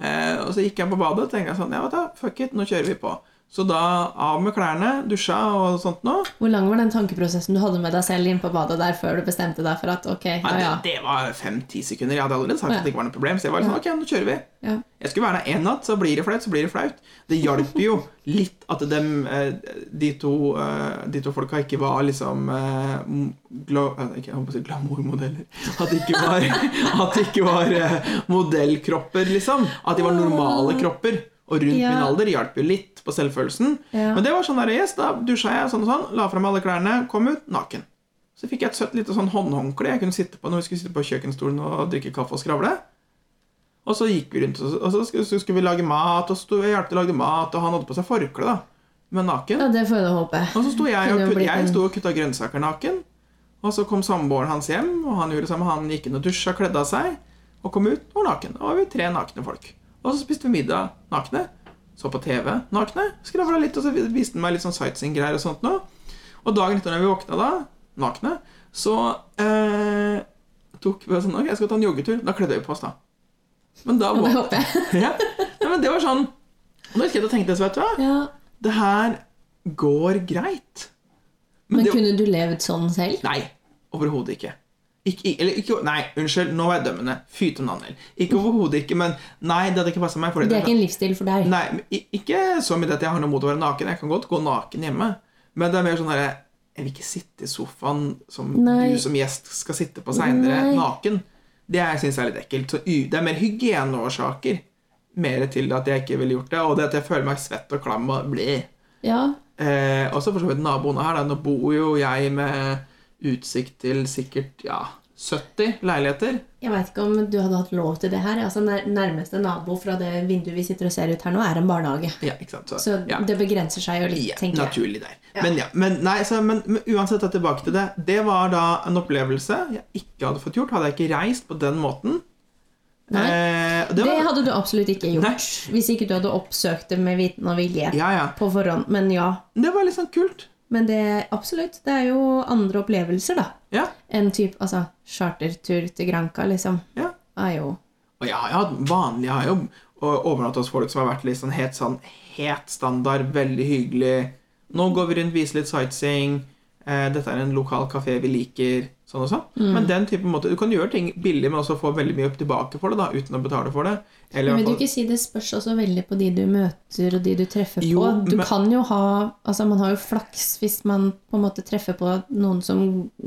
Speaker 2: Eh, og så gikk han på badet og tenkte sånn, ja vet du, fuck it, nå kjører vi på. Så da av med klærne, dusja og sånt nå.
Speaker 1: Hvor lang var den tankeprosessen du hadde med deg selv inn på badet der før du bestemte deg for at ok,
Speaker 2: Nei,
Speaker 1: ja ja.
Speaker 2: det, det var fem-ti sekunder. Jeg hadde allerede sagt
Speaker 1: Ja.
Speaker 2: at det ikke var noe problem, så jeg var litt sånn, ok, nå kjører vi.
Speaker 1: ja.
Speaker 2: Jeg skulle være der én natt, så blir det flaut, så blir det flaut. Det hjalp jo litt at dem, eh, de, to, eh, de to folka ikke var liksom eh, m- gla, eh, ikke, Jeg holdt på å si glamourmodeller. At det ikke var, at det ikke var eh, modellkropper, liksom. At de var normale kropper. Og rundt
Speaker 1: Ah. Ja.
Speaker 2: min alder hjalp jo litt på selvfølelsen.
Speaker 1: Ja.
Speaker 2: Men det var sånn der, yes, da dusja jeg sånn og sånn, la fra meg alle klærne, kom ut naken. Så fikk jeg et søtt lite sånn håndhåndkle jeg kunne sitte på når vi skulle sitte på kjøkkenstolen og drikke kaffe og skravle. Og så gikk vi rundt, og så- og så skulle, så skulle vi lage mat, og så sto jeg og hjalp til å lage mat, og han hadde på seg forkle, da, men naken.
Speaker 1: ja, det får jeg da håpe.
Speaker 2: Og så sto jeg og,
Speaker 1: Kunne jo
Speaker 2: kutt,
Speaker 1: blitt en-
Speaker 2: jeg sto og kutta grønnsaker naken. Og så kom samboeren hans hjem, og han gjorde det samme. Han gikk inn og dusja, kledde av seg, og kom ut og var naken. Da var vi tre nakne folk. Og så spiste vi middag nakne, så på TV nakne, skravla litt, og så viste han meg litt sånn sightseeing-greier og sånt noe. Og dagen etter når vi våkna da, nakne, så eh, tok vi sånn Ok, jeg skal ta en joggetur. Da kledde vi på oss, da. Men da
Speaker 1: Ja, det
Speaker 2: våk-
Speaker 1: håper jeg.
Speaker 2: ja. Nei, men det var sånn Og da husker jeg at jeg tenkte, så vet du hva,
Speaker 1: Ja.
Speaker 2: det her går greit. Men,
Speaker 1: Men
Speaker 2: det,
Speaker 1: kunne du levd sånn selv?
Speaker 2: Nei, overhodet ikke. Ikke, eller, ikke, nei, unnskyld, nå var jeg dømmende. Fy til nannel. Ikke overhodet ikke, men nei, det hadde ikke passa meg. Fordi
Speaker 1: Det er ikke en livsstil for deg.
Speaker 2: Nei, men i- Ikke så mye at jeg har noe mot å være naken. Jeg kan godt gå naken hjemme. Men det er mer sånn derre Jeg vil ikke sitte i sofaen som
Speaker 1: Nei.
Speaker 2: du som gjest skal sitte på seinere,
Speaker 1: Nei.
Speaker 2: naken. Det syns jeg er litt ekkelt. Så u- det er mer hygieneårsaker mer til at jeg ikke ville gjort det. Og det at jeg føler meg svett og klam og blid.
Speaker 1: Ja.
Speaker 2: Eh, også for så vidt naboene her. Da. Nå bor jo jeg med utsikt til sikkert ja, 70 leiligheter.
Speaker 1: Jeg veit ikke om du hadde hatt lov til det her. Altså, nær- Nærmeste nabo fra det vinduet vi sitter og ser ut her nå, er en barnehage.
Speaker 2: Ja, ikke sant? Så,
Speaker 1: Så
Speaker 2: ja.
Speaker 1: det begrenser seg jo litt,
Speaker 2: Ja,
Speaker 1: tenker jeg.
Speaker 2: naturlig der. Men, ja, men, nei, så, men, men uansett, da, tilbake til det. Det var da en opplevelse jeg ikke hadde fått gjort. Hadde jeg ikke reist på den måten.
Speaker 1: Nei.
Speaker 2: Eh, og det
Speaker 1: Det
Speaker 2: var,
Speaker 1: hadde du absolutt ikke gjort
Speaker 2: Nei.
Speaker 1: hvis ikke du hadde oppsøkt det med viten og vilje
Speaker 2: ja, ja.
Speaker 1: på forhånd. Men ja.
Speaker 2: det var litt sånn kult.
Speaker 1: Men det absolutt. Det er jo andre opplevelser, da.
Speaker 2: Ja,
Speaker 1: En type altså, chartertur til Granca, liksom.
Speaker 2: ja.
Speaker 1: Er jo
Speaker 2: Og jeg har jo hatt vanlig Jeg har jo overnatta hos folk som har vært litt sånn helt sånn helt standard, veldig hyggelig. Nå går vi rundt, viser litt sightseeing. Eh, dette er en lokal kafé vi liker. Sånn og sånn.
Speaker 1: Mm.
Speaker 2: Men den type måte, du kan gjøre ting billig, men også få veldig mye tilbake for det da, uten å betale for det. Eller i
Speaker 1: Men vil
Speaker 2: hvert
Speaker 1: du
Speaker 2: fall-
Speaker 1: ikke si det spørs også veldig på de du møter og de du treffer
Speaker 2: Jo,
Speaker 1: på? Du
Speaker 2: men-
Speaker 1: kan jo ha Altså, man har jo flaks hvis man på en måte treffer på noen som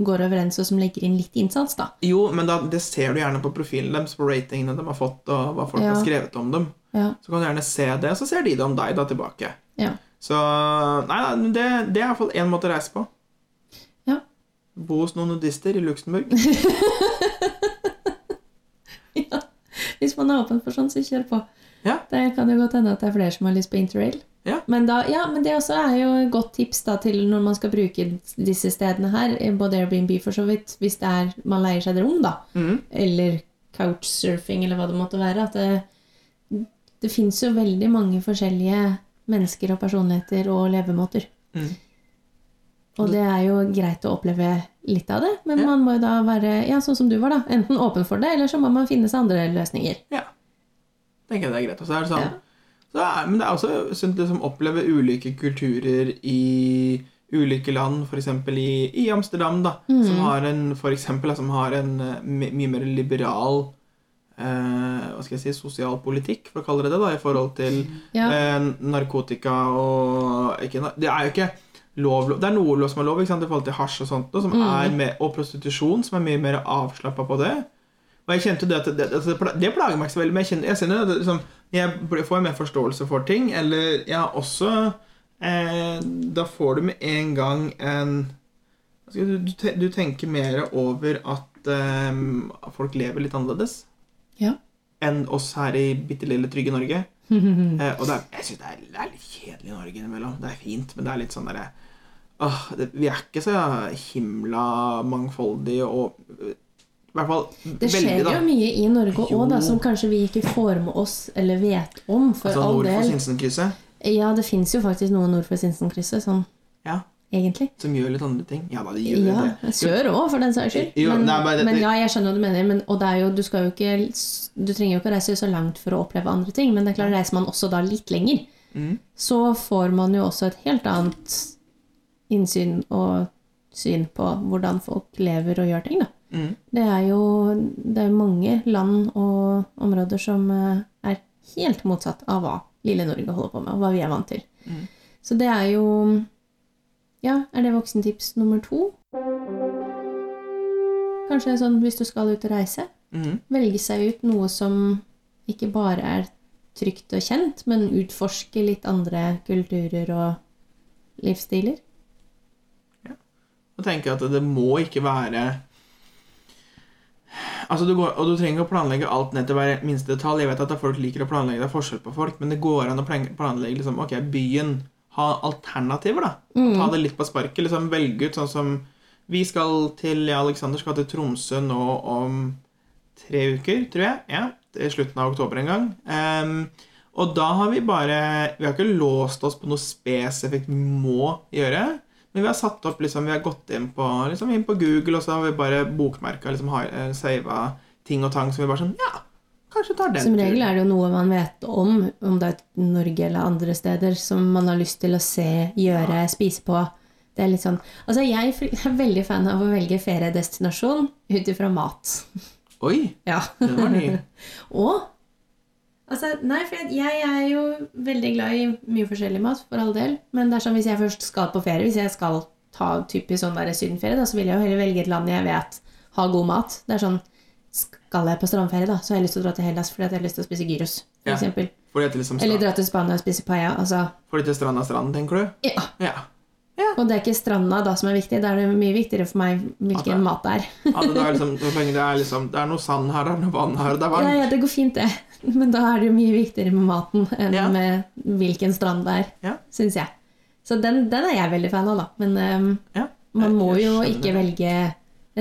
Speaker 1: går overens, og som legger inn litt innsats, da.
Speaker 2: Jo, men da, det ser du gjerne på profilen deres, på ratingene de har fått, og hva folk
Speaker 1: Ja.
Speaker 2: har skrevet om dem.
Speaker 1: Ja.
Speaker 2: Så kan du gjerne se det, og så ser de det om deg da tilbake.
Speaker 1: Ja.
Speaker 2: Så nei, nei, men det, det er iallfall én måte å reise på.
Speaker 1: Ja.
Speaker 2: Bo hos noen nudister i Luxembourg.
Speaker 1: ja. Hvis man er åpen for sånn, så kjør på.
Speaker 2: Ja.
Speaker 1: Det kan jo godt hende at det er flere som har lyst på interrail.
Speaker 2: Ja.
Speaker 1: Men, da, ja, men det også er jo et godt tips da, til når man skal bruke disse stedene her, eh, både Airbnb for så vidt, hvis det er man leier seg et rom, da.
Speaker 2: Mhm.
Speaker 1: Eller couchsurfing, eller hva det måtte være. At det, det fins jo veldig mange forskjellige mennesker og personligheter og levemåter.
Speaker 2: Mhm.
Speaker 1: Og det er jo greit å oppleve litt av det, men
Speaker 2: Ja.
Speaker 1: man må jo da være ja, sånn som du var, da. Enten åpen for det, eller så må man finne seg andre løsninger.
Speaker 2: Ja. Tenker jeg det er greit. Og så er det sånn så er, Men det er også sunt å liksom, oppleve ulike kulturer i ulike land, f.eks. I, i Amsterdam, da, som har en for eksempel, da, som har en eh, my- mye mer liberal eh, hva skal jeg si, sosial politikk, for å kalle det det, da, i forhold til
Speaker 1: Ja.
Speaker 2: eh, narkotika og ikke, na- Det er jo ikke lov, lov- Det er noe lov som er lov ikke sant, i forhold til hasj og sånt, og, som er mer- og prostitusjon, som er mye mer avslappa på det. Og jeg kjente det at det, altså, det, pla- det plager meg ikke så veldig, men jeg kjenner, jeg kjenner at det, liksom, jeg bl- får en mer forståelse for ting. Eller jeg har også eh, da får du med en gang en hva skal jeg si, du, te- du tenker mer over at eh, folk lever litt annerledes
Speaker 1: Ja.
Speaker 2: enn oss her i bitte lille, trygge Norge. Eh, og det er, jeg syns det, er- det er litt kjedelig i Norge innimellom. Det er fint, men det er litt sånn derre åh, det- Vi er ikke så himla mangfoldige og eh, I hvert fall
Speaker 1: Det skjer
Speaker 2: veldig, da.
Speaker 1: jo mye i Norge òg, da,
Speaker 2: Jo.
Speaker 1: som kanskje vi ikke får med oss eller vet om. For
Speaker 2: Altså
Speaker 1: all
Speaker 2: nord for
Speaker 1: del.
Speaker 2: Sinsenkrysset.
Speaker 1: Ja, det fins jo faktisk noe nord for Sinsenkrysset, sånn
Speaker 2: Ja,
Speaker 1: egentlig.
Speaker 2: som gjør litt andre ting. Ja da, de gjør
Speaker 1: Ja,
Speaker 2: det.
Speaker 1: Sør òg, for den saks skyld.
Speaker 2: Jo,
Speaker 1: Men,
Speaker 2: nei, men det-
Speaker 1: men ja, jeg skjønner hva du mener. Men, og det er jo, du, skal jo ikke, du trenger jo ikke å reise så langt for å oppleve andre ting. Men det er klart, reiser man også da litt lenger,
Speaker 2: Mm.
Speaker 1: så får man jo også et helt annet innsyn og syn på hvordan folk lever og gjør ting, da.
Speaker 2: Mm.
Speaker 1: Det er jo det er mange land og områder som eh, er helt motsatt av hva lille Norge holder på med, og hva vi er vant til.
Speaker 2: Mm.
Speaker 1: Så det er jo Ja, er det voksentips nummer to? Kanskje sånn hvis du skal ut og reise,
Speaker 2: Mm.
Speaker 1: velge seg ut noe som ikke bare er trygt og kjent, men utforske litt andre kulturer og livsstiler.
Speaker 2: Og tenker at det må ikke være Altså, du går, og du trenger ikke å planlegge alt ned til hver minste detalj. Jeg vet at folk liker å planlegge, det er forskjell på folk, men det går an å plan- planlegge liksom, ok, byen. Ha alternativer, da. Ta det litt på sparket. liksom Velge ut sånn som Vi skal til ja, Alexander skal til Tromsø nå om tre uker, tror jeg. Ja, til slutten av oktober en gang. Ehm, og da har vi bare Vi har ikke låst oss på noe spesifikt vi må gjøre. Men vi har satt opp, liksom, vi har gått inn på, liksom, inn på Google, og så har vi bare bokmerka liksom, har- eh, sava ting og tang som vi bare sånn Ja, kanskje tar den
Speaker 1: Som regel
Speaker 2: turen.
Speaker 1: er det jo noe man vet om, om det er i Norge eller andre steder, som man har lyst til å se, gjøre, spise på. Det er litt sånn Altså, jeg fr- er veldig fan av å velge feriedestinasjon ut ifra mat.
Speaker 2: Oi,
Speaker 1: Ja.
Speaker 2: den var ny.
Speaker 1: Og Altså, nei, for jeg, jeg er jo veldig glad i mye forskjellig mat, for all del. Men det er sånn hvis jeg først skal på ferie, hvis jeg skal ta typisk sånn der sydenferie, da, så vil jeg jo heller velge et land jeg vet har god mat. Det er sånn Skal jeg på strandferie, da, så har jeg lyst til å dra til Hellas fordi at jeg har lyst til å spise gyros, for
Speaker 2: Ja.
Speaker 1: eksempel.
Speaker 2: Får det til liksom
Speaker 1: Eller
Speaker 2: strand,
Speaker 1: dra til Spania og spise paella. Altså,
Speaker 2: får det til stranda strand, tenker du?
Speaker 1: ja.
Speaker 2: Ja.
Speaker 1: Og det er ikke stranda da som er viktig, da er det mye viktigere for meg
Speaker 2: At det
Speaker 1: hvilken
Speaker 2: er-
Speaker 1: mat det er.
Speaker 2: ja det er liksom, så lenge det er liksom Det er noe sand her, det er noe vann her, og det er
Speaker 1: Ja,
Speaker 2: varmt.
Speaker 1: ja, det går fint, det. Men da er det jo mye viktigere med maten enn
Speaker 2: Ja.
Speaker 1: med hvilken strand det er,
Speaker 2: Ja.
Speaker 1: syns jeg. Så den, den er jeg veldig fan av, da. Men ehm,
Speaker 2: Ja.
Speaker 1: man må
Speaker 2: Jeg- jeg
Speaker 1: jo
Speaker 2: skjønner
Speaker 1: ikke
Speaker 2: det.
Speaker 1: velge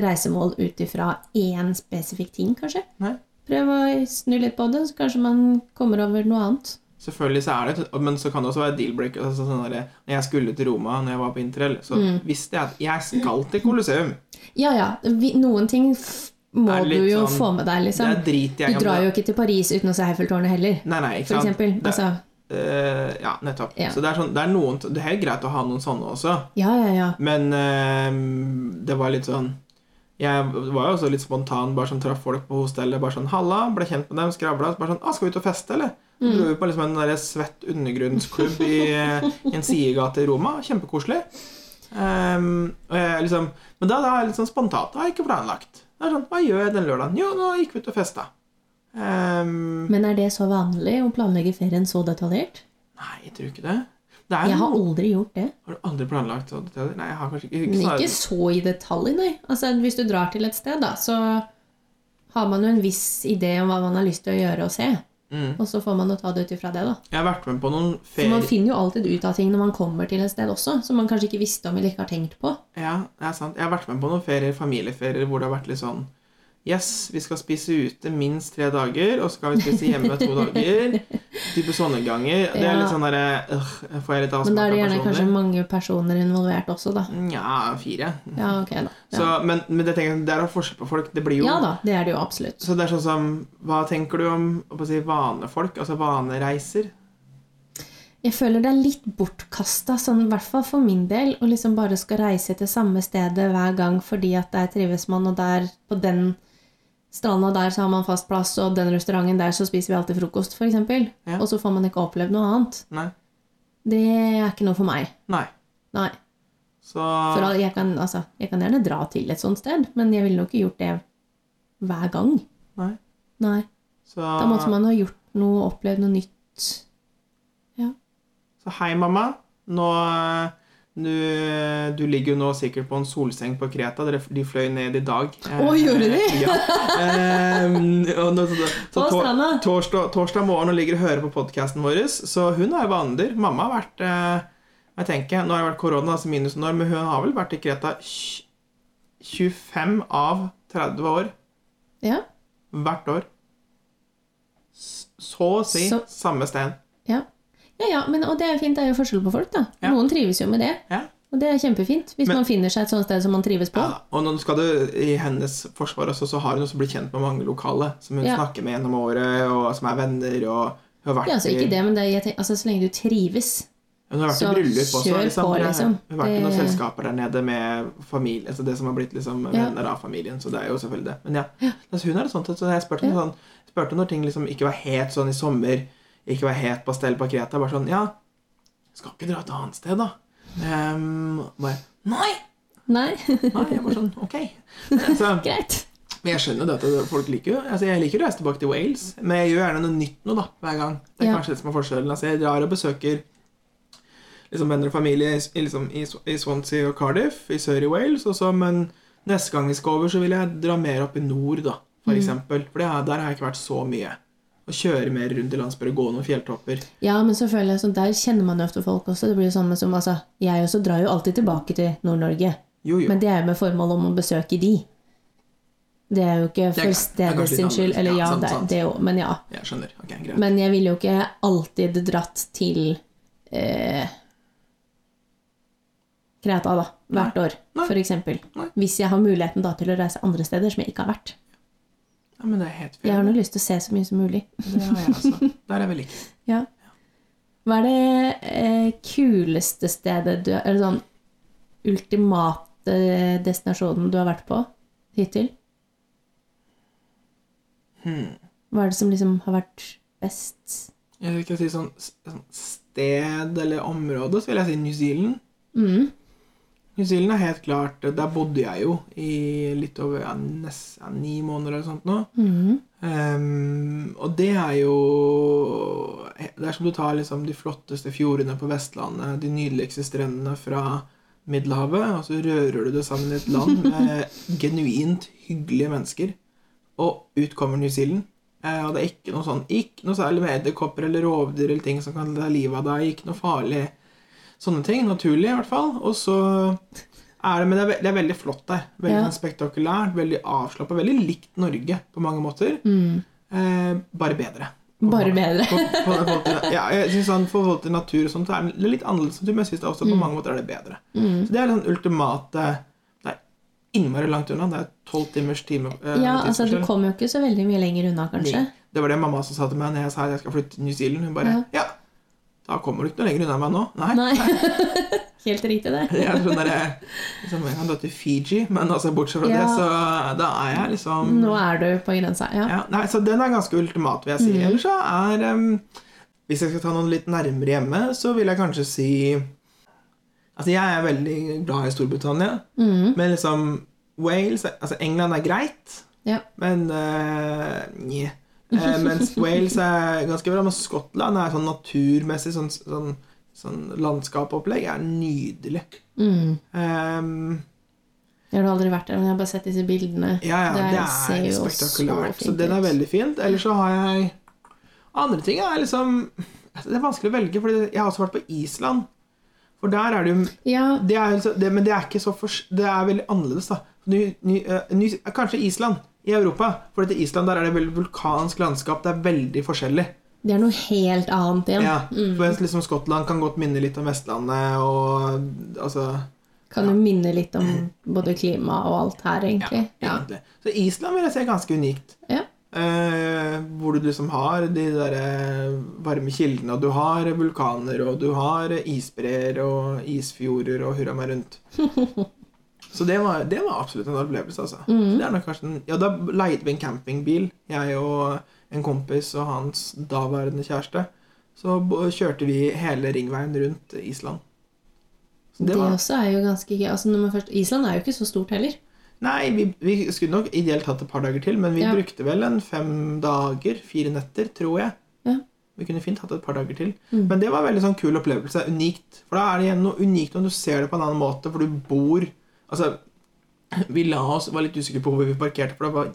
Speaker 1: reisemål ut ifra én spesifikk ting, kanskje.
Speaker 2: Nei.
Speaker 1: Prøv å snu litt på det, så kanskje man kommer over noe annet.
Speaker 2: Selvfølgelig så er det Men så kan det også være deal-breaker. Altså sånn derre, når jeg skulle til Roma når jeg var på interrail, så
Speaker 1: Mm.
Speaker 2: visste jeg at jeg skal til Colosseum.
Speaker 1: Ja ja, vi, noen ting f- må
Speaker 2: Er litt
Speaker 1: du jo
Speaker 2: sånn-
Speaker 1: få med deg, liksom.
Speaker 2: Det driter jeg
Speaker 1: Du
Speaker 2: om
Speaker 1: drar
Speaker 2: det-
Speaker 1: jo ikke til Paris uten å se Eiffeltårnet heller,
Speaker 2: Nei, nei, ikke
Speaker 1: for
Speaker 2: sant.
Speaker 1: eksempel.
Speaker 2: Det-
Speaker 1: Altså,
Speaker 2: Eh, ja, nettopp.
Speaker 1: Ja.
Speaker 2: Så det er, sånn, det er noen Det er helt greit å ha noen sånne også,
Speaker 1: ja, ja, ja.
Speaker 2: men eh, det var litt sånn Jeg var jo også litt spontan, bare sånn traff folk på hostellet, bare sånn halla, ble kjent med dem, skravla, så bare sånn ah, skal vi ut og feste, eller? Så
Speaker 1: Mm.
Speaker 2: dro vi på liksom en der svett undergrunnsklubb i eh, en sidegate i Roma. Kjempekoselig. Ehm, og jeg liksom Men da, da er jeg litt sånn spontant. Da er jeg ikke planlagt. Det er sånn, Hva gjør jeg den lørdagen? Jo, nå gikk vi ut og festa. Ehm,
Speaker 1: Men er det så vanlig å planlegge ferien så detaljert?
Speaker 2: nei, jeg tror ikke det. det er
Speaker 1: Jeg
Speaker 2: noe-
Speaker 1: har aldri gjort det.
Speaker 2: Har du aldri planlagt sånne detaljer? Nei, jeg har kanskje ikke,
Speaker 1: Men
Speaker 2: ikke,
Speaker 1: ikke
Speaker 2: snarere-
Speaker 1: så i detalj, nei. Altså, hvis du drar til et sted, da, så har man jo en viss idé om hva man har lyst til å gjøre og se.
Speaker 2: Mm.
Speaker 1: Og så får man jo ta det ut ifra det, da.
Speaker 2: Jeg har vært med på noen
Speaker 1: For man
Speaker 2: ferie...
Speaker 1: finner jo alltid ut av ting når man kommer til et sted også, som man kanskje ikke visste om eller ikke har tenkt på.
Speaker 2: Ja, det er sant. Jeg har vært med på noen ferier, familieferier, hvor det har vært litt sånn Yes, vi skal spise ute minst tre dager, og så skal vi spise hjemme to dager. Type sånne ganger. Det
Speaker 1: Ja.
Speaker 2: er litt sånn derre øh, Får jeg
Speaker 1: Men
Speaker 2: litt
Speaker 1: da
Speaker 2: avsmak
Speaker 1: er
Speaker 2: av
Speaker 1: det gjerne kanskje
Speaker 2: personlig?
Speaker 1: mange personer involvert også, da.
Speaker 2: Nja, fire.
Speaker 1: Ja, ok, da.
Speaker 2: Mm. Så,
Speaker 1: Ja,
Speaker 2: men, men det tenker jeg, det er jo forskjell på folk. Det blir jo
Speaker 1: ja da, det er det jo absolutt.
Speaker 2: Så det er sånn som Hva tenker du om hva skal jeg si, vanefolk? Altså vanereiser?
Speaker 1: Jeg føler det er litt bortkasta, sånn, i hvert fall for min del, å liksom bare skal reise til samme stedet hver gang fordi at der trives man, og der på den stranda der så har man fast plass, og den restauranten der så spiser vi alltid frokost, f.eks.
Speaker 2: Ja.
Speaker 1: Og så får man ikke opplevd noe annet.
Speaker 2: Nei.
Speaker 1: Det er ikke noe for meg.
Speaker 2: Nei.
Speaker 1: Nei.
Speaker 2: Så
Speaker 1: For
Speaker 2: Ah.
Speaker 1: all- jeg kan, altså, jeg kan gjerne dra til et sånt sted, men jeg ville nok ikke gjort det hver gang.
Speaker 2: Nei.
Speaker 1: Nei.
Speaker 2: Så,
Speaker 1: Da måtte man ha gjort noe, opplevd noe nytt.
Speaker 2: så hei, mamma. Nå eh, du, du ligger jo nå sikkert på en solseng på Kreta. Dere, de fløy ned i dag. Eh,
Speaker 1: Å, gjorde de?
Speaker 2: eh, Ja. Eh, og nå- så, så,
Speaker 1: På
Speaker 2: tor-
Speaker 1: stranda.
Speaker 2: Torsdag, torsdag morgen og ligger og hører på podkasten vår, så hun er vandrer. Mamma har vært eh, jeg tenker, Nå har det vært korona, altså minus en år, men hun har vel vært i Kreta tj- 25 av 30 år
Speaker 1: Ja.
Speaker 2: hvert år. S- Så å si
Speaker 1: Så-
Speaker 2: samme sted.
Speaker 1: Ja, ja, ja men, og det er jo fint. Det er jo forskjell på folk, da.
Speaker 2: Ja.
Speaker 1: Noen trives jo med det.
Speaker 2: Ja.
Speaker 1: Og det er kjempefint. Hvis
Speaker 2: Men-
Speaker 1: man finner seg et sånt sted som man trives på.
Speaker 2: Ja, da. og nå skal du, I hennes forsvar også, så har hun også blitt kjent med mange lokale som hun
Speaker 1: Ja.
Speaker 2: snakker med gjennom året, og som er venner. og hun har vært
Speaker 1: Ja, altså,
Speaker 2: i,
Speaker 1: ikke det, men det, er- jeg tenker, altså, så lenge du trives.
Speaker 2: hun har vært
Speaker 1: så
Speaker 2: i bryllup også.
Speaker 1: kjør
Speaker 2: Liksom.
Speaker 1: på,
Speaker 2: Det-
Speaker 1: liksom.
Speaker 2: Hun har vært i noen
Speaker 1: Det-
Speaker 2: selskaper der nede med familie, altså det som har blitt liksom venner av familien. Så det er jo selvfølgelig det. Men ja, altså, hun er det sånt, så jeg spurte henne sånn, spurte henne når ting liksom ikke var helt sånn i sommer, ikke var helt på stell på Kreta. Bare sånn Ja, skal ikke dra et annet sted, da? Ehm, bare Nei!
Speaker 1: Nei,
Speaker 2: Nei, jeg bare sånn, ok. Så,
Speaker 1: greit.
Speaker 2: Men jeg skjønner jo det at folk liker jo Altså jeg liker å reise tilbake til Wales, men jeg gjør gjerne noe nytt nå da, hver gang. Det er
Speaker 1: Ja.
Speaker 2: kanskje det som er forskjellen. Altså Jeg drar og besøker liksom venner og familie i, i liksom, i, Sw- i Swansea og Cardiff, i sør i Wales, og så, men neste gang vi skal over, så vil jeg dra mer opp i nord, da, for
Speaker 1: Mm.
Speaker 2: eksempel. For det er, der har jeg ikke vært så mye. Å kjøre mer rundt i landsbyer og gå noen fjelltopper.
Speaker 1: Ja, men så føler jeg sånn, der kjenner man jo ofte folk også. Det blir jo samme som, altså, Jeg også drar jo alltid tilbake til Nord-Norge.
Speaker 2: Jo, jo.
Speaker 1: Men det er jo med formål om å besøke de. Det er jo ikke
Speaker 2: Det er
Speaker 1: for
Speaker 2: kanskje- det er kanskje
Speaker 1: stedets
Speaker 2: litt
Speaker 1: sin skyld.
Speaker 2: annerledes.
Speaker 1: Eller
Speaker 2: Ja,
Speaker 1: ja,
Speaker 2: sant,
Speaker 1: det,
Speaker 2: sant.
Speaker 1: det jo, men ja.
Speaker 2: Jeg skjønner. Ok, greit.
Speaker 1: Men jeg ville jo ikke alltid dratt til eh, Kreta, da. Hvert år,
Speaker 2: Nei.
Speaker 1: for eksempel.
Speaker 2: Nei.
Speaker 1: Hvis jeg har muligheten da til å reise andre steder som jeg ikke har vært.
Speaker 2: Ja, men det er helt
Speaker 1: Jeg har
Speaker 2: fint.
Speaker 1: nå lyst til å se så mye som mulig.
Speaker 2: Det har jeg altså. Der er vel ikke.
Speaker 1: Ja. Hva er det eh, kuleste stedet du Eller sånn ultimate destinasjonen du har vært på hittil?
Speaker 2: Hmm.
Speaker 1: Hva er det som liksom har vært best?
Speaker 2: Jeg vil ikke si sånn, sånn sted eller område, så vil jeg si New Zealand.
Speaker 1: Mm.
Speaker 2: New Zealand er helt klart Der bodde jeg jo i litt over ja, nest, ja, ni måneder eller sånt nå.
Speaker 1: Mm.
Speaker 2: Ehm, og det er jo Det er som du tar liksom de flotteste fjordene på Vestlandet, de nydeligste strendene fra Middelhavet, og så rører du det sammen i et land med genuint hyggelige mennesker. Og ut kommer New Zealand. Eh, og det er ikke noe sånn Ikke noe særlig med edderkopper eller rovdyr eller ting som kan ta livet av deg. Ikke noe farlig. Sånne ting. Naturlig, i hvert fall. Og så er det Men det er, ve det er veldig flott der. Veldig
Speaker 1: Ja.
Speaker 2: sånn spektakulært, veldig avslappa. Veldig likt Norge på mange måter.
Speaker 1: Mm.
Speaker 2: Eh, bare bedre.
Speaker 1: Bare bedre.
Speaker 2: På, på, på, på, ja, jeg synes sånn, For forhold til natur og sånt, så er det litt annerledes natur, men jeg synes det
Speaker 1: Mm.
Speaker 2: også på mange måter er det bedre.
Speaker 1: Eh,
Speaker 2: Så det er den ultimate Det er innmari langt unna. Det er tolv timers time. eh,
Speaker 1: Ja, altså Du
Speaker 2: tidsforskjell.
Speaker 1: kom jo ikke så veldig mye lenger unna, kanskje.
Speaker 2: Nei. Det var det mamma som sa til meg når jeg sa at jeg skal flytte til New Zealand. Hun bare
Speaker 1: Ja.
Speaker 2: ja. da kommer du ikke noe lenger unna meg nå. Nei.
Speaker 1: Nei. Helt riktig, det.
Speaker 2: Det er sånn der, liksom, jeg kan dra til Fiji, men altså, bortsett fra
Speaker 1: Ja.
Speaker 2: det, så da er jeg liksom
Speaker 1: Nå er du på grensa. Um, Ja.
Speaker 2: ja, Nei, så den er ganske ultimat, vil jeg si. Ellers så er em, Hvis jeg skal ta noen litt nærmere hjemme, så vil jeg kanskje si Altså, jeg er veldig glad i Storbritannia,
Speaker 1: Mm.
Speaker 2: men liksom Wales Altså, England er greit.
Speaker 1: Ja.
Speaker 2: Men eh, nje. Eh, Mens Wales er ganske bra. Men Skottland er sånn naturmessig sånn, sånn, sånn landskapopplegg er nydelig.
Speaker 1: Mm.
Speaker 2: Ehm,
Speaker 1: Jeg har aldri vært der, men jeg har bare sett disse bildene.
Speaker 2: ja, ja, det
Speaker 1: ser
Speaker 2: er
Speaker 1: jo så
Speaker 2: spektakulært. Så
Speaker 1: fint
Speaker 2: den er
Speaker 1: ut.
Speaker 2: veldig fint. Ellers så har jeg Andre ting er liksom Det er vanskelig å velge, for jeg har også vært på Island. For der er det jo
Speaker 1: Ja,
Speaker 2: det er, jo så- det, men det er ikke så fors... Det er veldig annerledes, da. Ny, ny, eh, ny, eh, kanskje Island i Europa. For dette Island der er det veldig vulkansk landskap. Det er veldig forskjellig.
Speaker 1: det er noe helt annet igjen.
Speaker 2: Ja, mens liksom Skottland kan godt minne litt om Vestlandet og altså
Speaker 1: Kan jo minne litt om både klima og alt her, egentlig. Mm. Ja.
Speaker 2: egentlig. Så Island vil jeg si er ganske unikt.
Speaker 1: Ja.
Speaker 2: Eh, hvor du liksom har de der eh, varme kildene, og du har vulkaner, og du har isbreer og isfjorder og hurra meg rundt. Så det var, det var absolutt en opplevelse, altså.
Speaker 1: Mm.
Speaker 2: Så det er nok kanskje en, ja, da leide vi en campingbil, jeg og en kompis og hans daværende kjæreste. Så bo- kjørte vi hele ringveien rundt Island. Så
Speaker 1: Det,
Speaker 2: det var,
Speaker 1: også er jo ganske gøy. Altså, når man først, Island er jo ikke så stort heller.
Speaker 2: nei, vi, vi skulle nok ideelt hatt et par dager til, men vi
Speaker 1: Ja.
Speaker 2: brukte vel en fem dager, fire netter, tror jeg.
Speaker 1: Ja.
Speaker 2: Vi kunne fint hatt et par dager til.
Speaker 1: Mm.
Speaker 2: Men det var en veldig sånn kul opplevelse. Unikt. For da er det igjen noe unikt når du ser det på en annen måte, for du bor Altså, vi la oss var litt usikre på hvor vi parkerte, for det var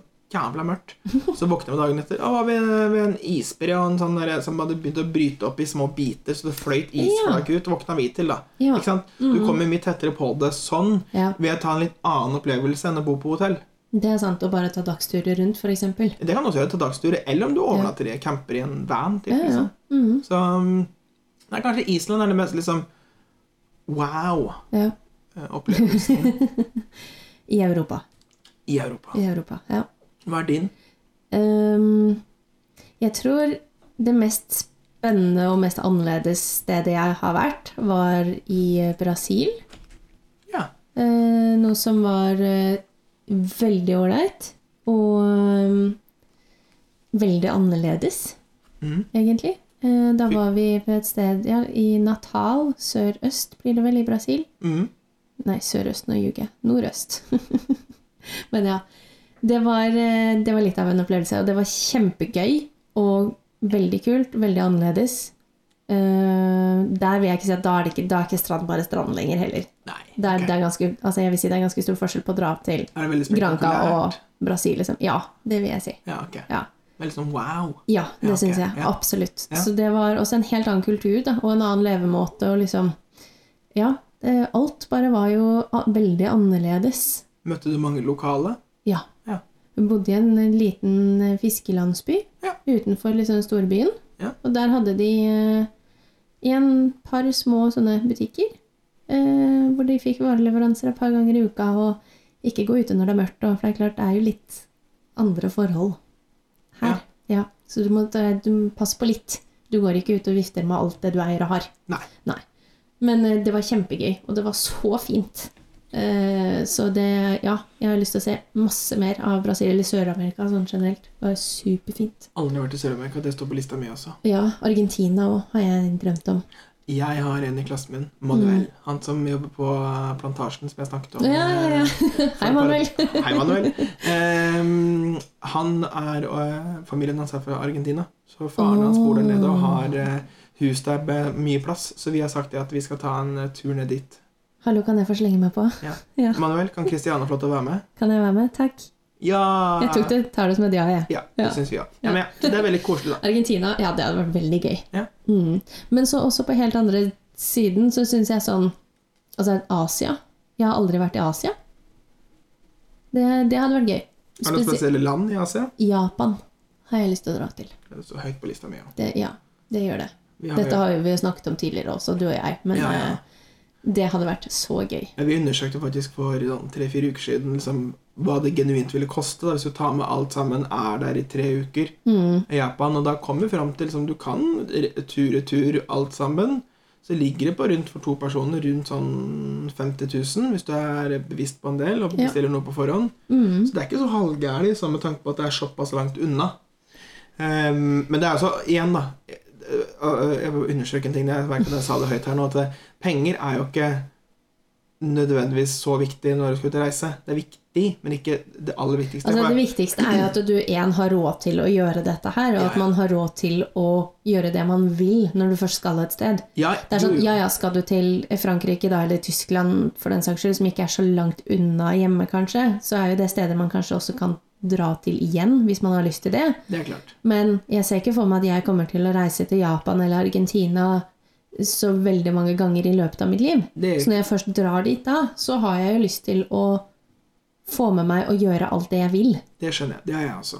Speaker 2: jævla mørkt. Så våkna vi dagen etter. Da var vi ved en isbre og en sånn der, som hadde begynt å bryte opp i små biter, så det fløyt isflak ut. Våkna vi til, da.
Speaker 1: Ja. Mm.
Speaker 2: Ikke sant? Du kommer mye tettere på det sånn
Speaker 1: ja.
Speaker 2: ved å ta en litt annen opplevelse enn å bo på hotell.
Speaker 1: Det er sant. Å bare ta dagsturer rundt, f.eks.
Speaker 2: Det kan du også gjøre til dagsturer, eller om du overnatter i camper i en van. Typ,
Speaker 1: Ja, ja.
Speaker 2: liksom.
Speaker 1: Mm.
Speaker 2: Så um, nei, kanskje Island er det mest liksom eh, wow-opplevelsen
Speaker 1: ja. I Europa.
Speaker 2: i Europa.
Speaker 1: I Europa, ja.
Speaker 2: Hva er din?
Speaker 1: Ehm, jeg tror det mest spennende og mest annerledes stedet jeg har vært, var i eh, Brasil.
Speaker 2: Ja.
Speaker 1: Eh, noe som var eh, veldig ålreit. Og eh, veldig annerledes,
Speaker 2: Mhm.
Speaker 1: egentlig. Eh, da var vi på et sted ja, i Natal, sørøst blir det vel i Brasil.
Speaker 2: Mm.
Speaker 1: Nei, sørøst, nå ljuger jeg. Nordøst. Men ja. Det var, eh, det var litt av en opplevelse, og det var kjempegøy. Og veldig kult, veldig annerledes. Eh, der vil jeg ikke si at da er, det ikke, da er ikke strand bare strand lenger heller.
Speaker 2: Nei.
Speaker 1: Det er,
Speaker 2: ok.
Speaker 1: det er ganske, altså jeg vil si det er ganske stor forskjell på å dra opp til
Speaker 2: Er det veldig
Speaker 1: Granca og
Speaker 2: spektakulært?
Speaker 1: Brasil, liksom. Ja, det vil jeg si.
Speaker 2: Ja, ok.
Speaker 1: Ja.
Speaker 2: Veldig sånn wow.
Speaker 1: Ja, det
Speaker 2: Ja, ok.
Speaker 1: syns jeg.
Speaker 2: Ja.
Speaker 1: Absolutt.
Speaker 2: Ja.
Speaker 1: Så det var også en helt annen kultur, da, og en annen levemåte, og liksom Ja. eh, Alt bare var jo a- veldig annerledes.
Speaker 2: Møtte du mange lokale?
Speaker 1: Ja.
Speaker 2: Ja.
Speaker 1: Vi bodde i en liten eh, fiskelandsby
Speaker 2: Ja.
Speaker 1: utenfor liksom storbyen,
Speaker 2: Ja.
Speaker 1: og der hadde de eh, en par små sånne butikker. Eh, hvor de fikk vareleveranser et par ganger i uka, og ikke gå ute når det er mørkt. Og, for det er klart, det er jo litt andre forhold her. Ja. Så du må eh, du, passe på litt. Du går ikke ut og vifter med alt det du eier og har.
Speaker 2: Nei.
Speaker 1: Men eh, det var kjempegøy, og det var så fint. Eh, Så det Ja, jeg har lyst til å se masse mer av Brasil eller Sør-Amerika sånn generelt. Det var superfint.
Speaker 2: Aldri vært i Sør-Amerika. Det står på lista mi også.
Speaker 1: Ja, Argentina òg har jeg drømt om.
Speaker 2: Jeg har en i klassen min, Manuel. Han som jobber på eh, plantasjen som jeg snakket om.
Speaker 1: Mm. Ja, ja, ja.
Speaker 2: eh,
Speaker 1: Hei, Manuel.
Speaker 2: Hei, Manuel. Ehm, han er eh, Familien hans er fra Argentina. Så faren hans bor der nede og har eh, hus der med mye plass. Så vi har sagt det at vi skal ta en eh, tur ned dit.
Speaker 1: Hallo, kan jeg få slenge meg på?
Speaker 2: Manuel, kan Christiane få lov til å være med?
Speaker 1: Kan jeg være med? Takk.
Speaker 2: Ja!
Speaker 1: Jeg tok det, tar det som et ja, jeg.
Speaker 2: Ja, det
Speaker 1: Ja.
Speaker 2: syns vi òg. Ja, men ja, det er veldig koselig, da.
Speaker 1: Argentina, ja, det hadde vært veldig gøy.
Speaker 2: Ja.
Speaker 1: Mm. Men så også på helt andre siden så syns jeg sånn Altså Asia. Jeg har aldri vært i Asia. Det, det hadde vært gøy.
Speaker 2: Er det noen
Speaker 1: Spesielt-
Speaker 2: spesielle land i Asia?
Speaker 1: Japan har jeg lyst til å dra til.
Speaker 2: Det står høyt på lista mi òg.
Speaker 1: Det, ja, det gjør det. Dette har jo vi jo snakket om tidligere også, du og jeg. Men
Speaker 2: Ja, ja.
Speaker 1: eh, det hadde vært så gøy.
Speaker 2: Ja, Vi undersøkte faktisk for sånn, tre-fire uker siden liksom, hva det genuint ville koste da, hvis du tar med alt sammen, er der i tre uker
Speaker 1: Mm.
Speaker 2: i Japan. Og da kom vi fram til liksom, du kan tur-retur alt sammen. Så ligger det på rundt for to personer rundt sånn 50 000, hvis du er bevisst på en del og
Speaker 1: Ja.
Speaker 2: bestiller noe på forhånd.
Speaker 1: Mm.
Speaker 2: Så det er ikke så halvgærlig, sånn med tanke på at det er såpass langt unna. Ehm, men det er altså, igjen da eh, eh, Jeg vil understreke en ting, jeg vet ikke om jeg sa det høyt her nå, at eh, penger er jo ikke nødvendigvis så viktig når du skal ut og reise. Det er viktig, men ikke det aller viktigste.
Speaker 1: Altså, det
Speaker 2: For-
Speaker 1: viktigste er jo at du en, har råd til å gjøre dette her, og
Speaker 2: Ja,
Speaker 1: at
Speaker 2: ja.
Speaker 1: man har råd til å gjøre det man vil når du først skal et sted.
Speaker 2: ja,
Speaker 1: Det er sånn,
Speaker 2: jo, jo.
Speaker 1: ja ja, skal du til Frankrike da, eller Tyskland for den saks skyld, som ikke er så langt unna hjemme, kanskje, så er jo det steder man kanskje også kan dra til igjen, hvis man har lyst til det.
Speaker 2: Det er klart.
Speaker 1: Men jeg ser ikke for meg at jeg kommer til å reise til Japan eller Argentina så veldig mange ganger i løpet av mitt liv.
Speaker 2: Det
Speaker 1: Så
Speaker 2: er,
Speaker 1: når jeg først drar dit da, så har jeg jo lyst til å få med meg og gjøre alt det jeg vil.
Speaker 2: det skjønner jeg. Det er jeg også.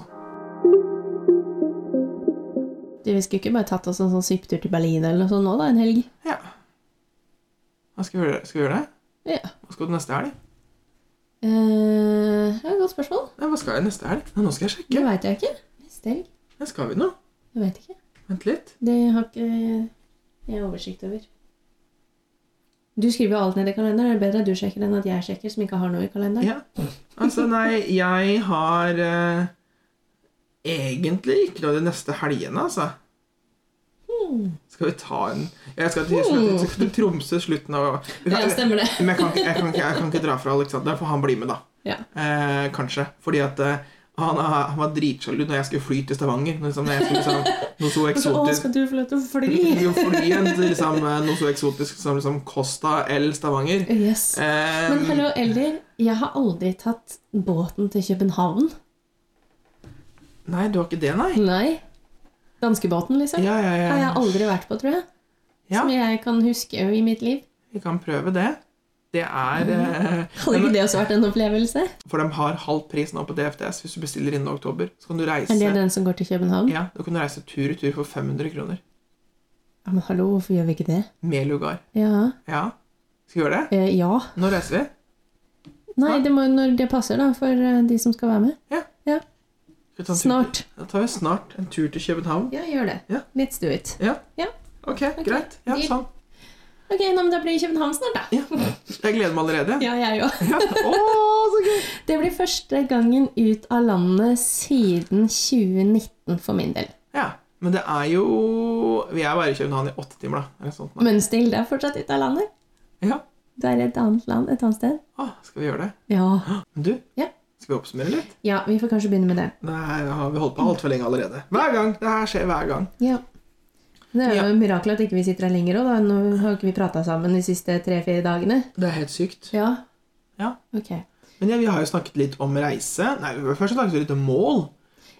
Speaker 1: Du, vi skulle ikke bare tatt oss en sånn svipptur til Berlin eller noe sånt nå da, en helg.
Speaker 2: Ja. Hva skal vi gjøre? Skal vi gjøre det?
Speaker 1: Ja.
Speaker 2: Hva skal du neste helg?
Speaker 1: Eh, det er et godt spørsmål.
Speaker 2: Nei, hva skal jeg neste helg? Nei, nå skal jeg
Speaker 1: Det
Speaker 2: sjekke.
Speaker 1: veit jeg ikke. Neste helg?
Speaker 2: Nei, skal vi nå?
Speaker 1: Jeg vet ikke.
Speaker 2: Vent litt.
Speaker 1: Det har ikke jeg oversikt over. Du skriver jo alt ned i kalenderen. Det er bedre at du sjekker enn at jeg sjekker, som ikke har noe i kalenderen.
Speaker 2: Ja. Altså, nei, jeg har eh, egentlig ikke noe de neste helgene, altså. Skal vi ta en Jeg skal til, skal til, skal til Tromsø slutten av Vi kan-
Speaker 1: stemmer det.
Speaker 2: Men jeg kan, ikke- jeg, kan ikke, jeg kan ikke dra fra Alexander, for han blir med, da.
Speaker 1: Ja.
Speaker 2: Eh, kanskje. Fordi at eh, Han, er- han var dritsjalu når jeg skulle fly til Stavanger. Liksom, når jeg skulle, liksom, noe så
Speaker 1: Og så, å,
Speaker 2: eksotisk
Speaker 1: skal du få lov til å fly?
Speaker 2: Jo, fly igjen til liksom, noe så eksotisk som liksom Costa eller Stavanger.
Speaker 1: Yes.
Speaker 2: Eh,
Speaker 1: Men hallo, Elder. Jeg har aldri tatt båten til København.
Speaker 2: Nei, du har ikke det, nei?
Speaker 1: Nei. Danskebåten, liksom.
Speaker 2: Ja, ja,
Speaker 1: Har jeg
Speaker 2: ja.
Speaker 1: aldri vært på, tror jeg.
Speaker 2: ja
Speaker 1: Som jeg kan huske i mitt liv.
Speaker 2: vi kan prøve det. Det er eh,
Speaker 1: Hadde ikke det også vært en opplevelse?
Speaker 2: For de har halv pris nå på DFDS hvis du bestiller innen oktober. Så kan du reise
Speaker 1: Er det den som går til København? Ja.
Speaker 2: Ja, da kan du reise tur i tur for 500 kroner.
Speaker 1: Men hallo, hvorfor gjør vi ikke det?
Speaker 2: Med lugar.
Speaker 1: Ja.
Speaker 2: Ja. Skal vi gjøre det?
Speaker 1: Eh, ja.
Speaker 2: Nå reiser vi.
Speaker 1: Nei, det må jo når det passer, da, for eh, de som skal være med.
Speaker 2: Skal vi ta en tur-
Speaker 1: Snart.
Speaker 2: Da tar vi snart en tur til København.
Speaker 1: Sånn Ja, gjør det.
Speaker 2: Ja.
Speaker 1: Let's do it.
Speaker 2: Ok, greit. Ja,
Speaker 1: Deal.
Speaker 2: sånn.
Speaker 1: Ok, nå, men Da blir det København snart, da.
Speaker 2: Ja. Jeg gleder meg allerede.
Speaker 1: Ja, jeg òg.
Speaker 2: Ja. Å, så gøy!
Speaker 1: Det blir første gangen ut av landet siden 2019 for min del.
Speaker 2: Ja, men det er jo Vi er bare i København i åtte timer, da. Eller sånt, nå.
Speaker 1: Men still, det er fortsatt ut av landet.
Speaker 2: Ja.
Speaker 1: Du er i et annet land, et annet sted.
Speaker 2: Å, skal vi gjøre det?
Speaker 1: Ja.
Speaker 2: Men du,
Speaker 1: Ja.
Speaker 2: skal vi oppsummere litt?
Speaker 1: ja, vi får kanskje begynne med det.
Speaker 2: Nei, da har vi holdt på altfor lenge allerede. Hver gang! Det her skjer hver gang.
Speaker 1: Ja. Det er jo
Speaker 2: Ja.
Speaker 1: et mirakel at ikke vi sitter her lenger òg. Nå har jo ikke vi prata sammen de siste tre-fire dagene.
Speaker 2: Det er helt sykt.
Speaker 1: Ja.
Speaker 2: Ja.
Speaker 1: Ok.
Speaker 2: Men ja, vi har jo snakket litt om reise. Nei, først snakket vi litt om mål.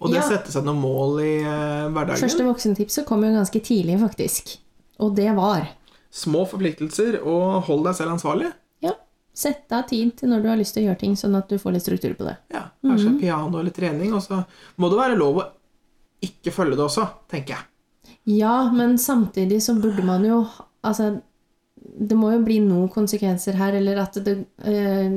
Speaker 2: Og det
Speaker 1: Ja.
Speaker 2: sette seg noen mål i eh, hverdagen.
Speaker 1: Første voksentipset kom jo ganske tidlig, faktisk. Og det var
Speaker 2: Små forpliktelser, og hold deg selv ansvarlig.
Speaker 1: ja, sette av tid til når du har lyst til å gjøre ting, sånn at du får litt struktur på det.
Speaker 2: Ja, Kanskje
Speaker 1: Mhm.
Speaker 2: piano eller trening. Og så må det være lov å ikke følge det også, tenker jeg.
Speaker 1: Ja, men samtidig så burde man jo Altså, det må jo bli noen konsekvenser her, eller at det, eh,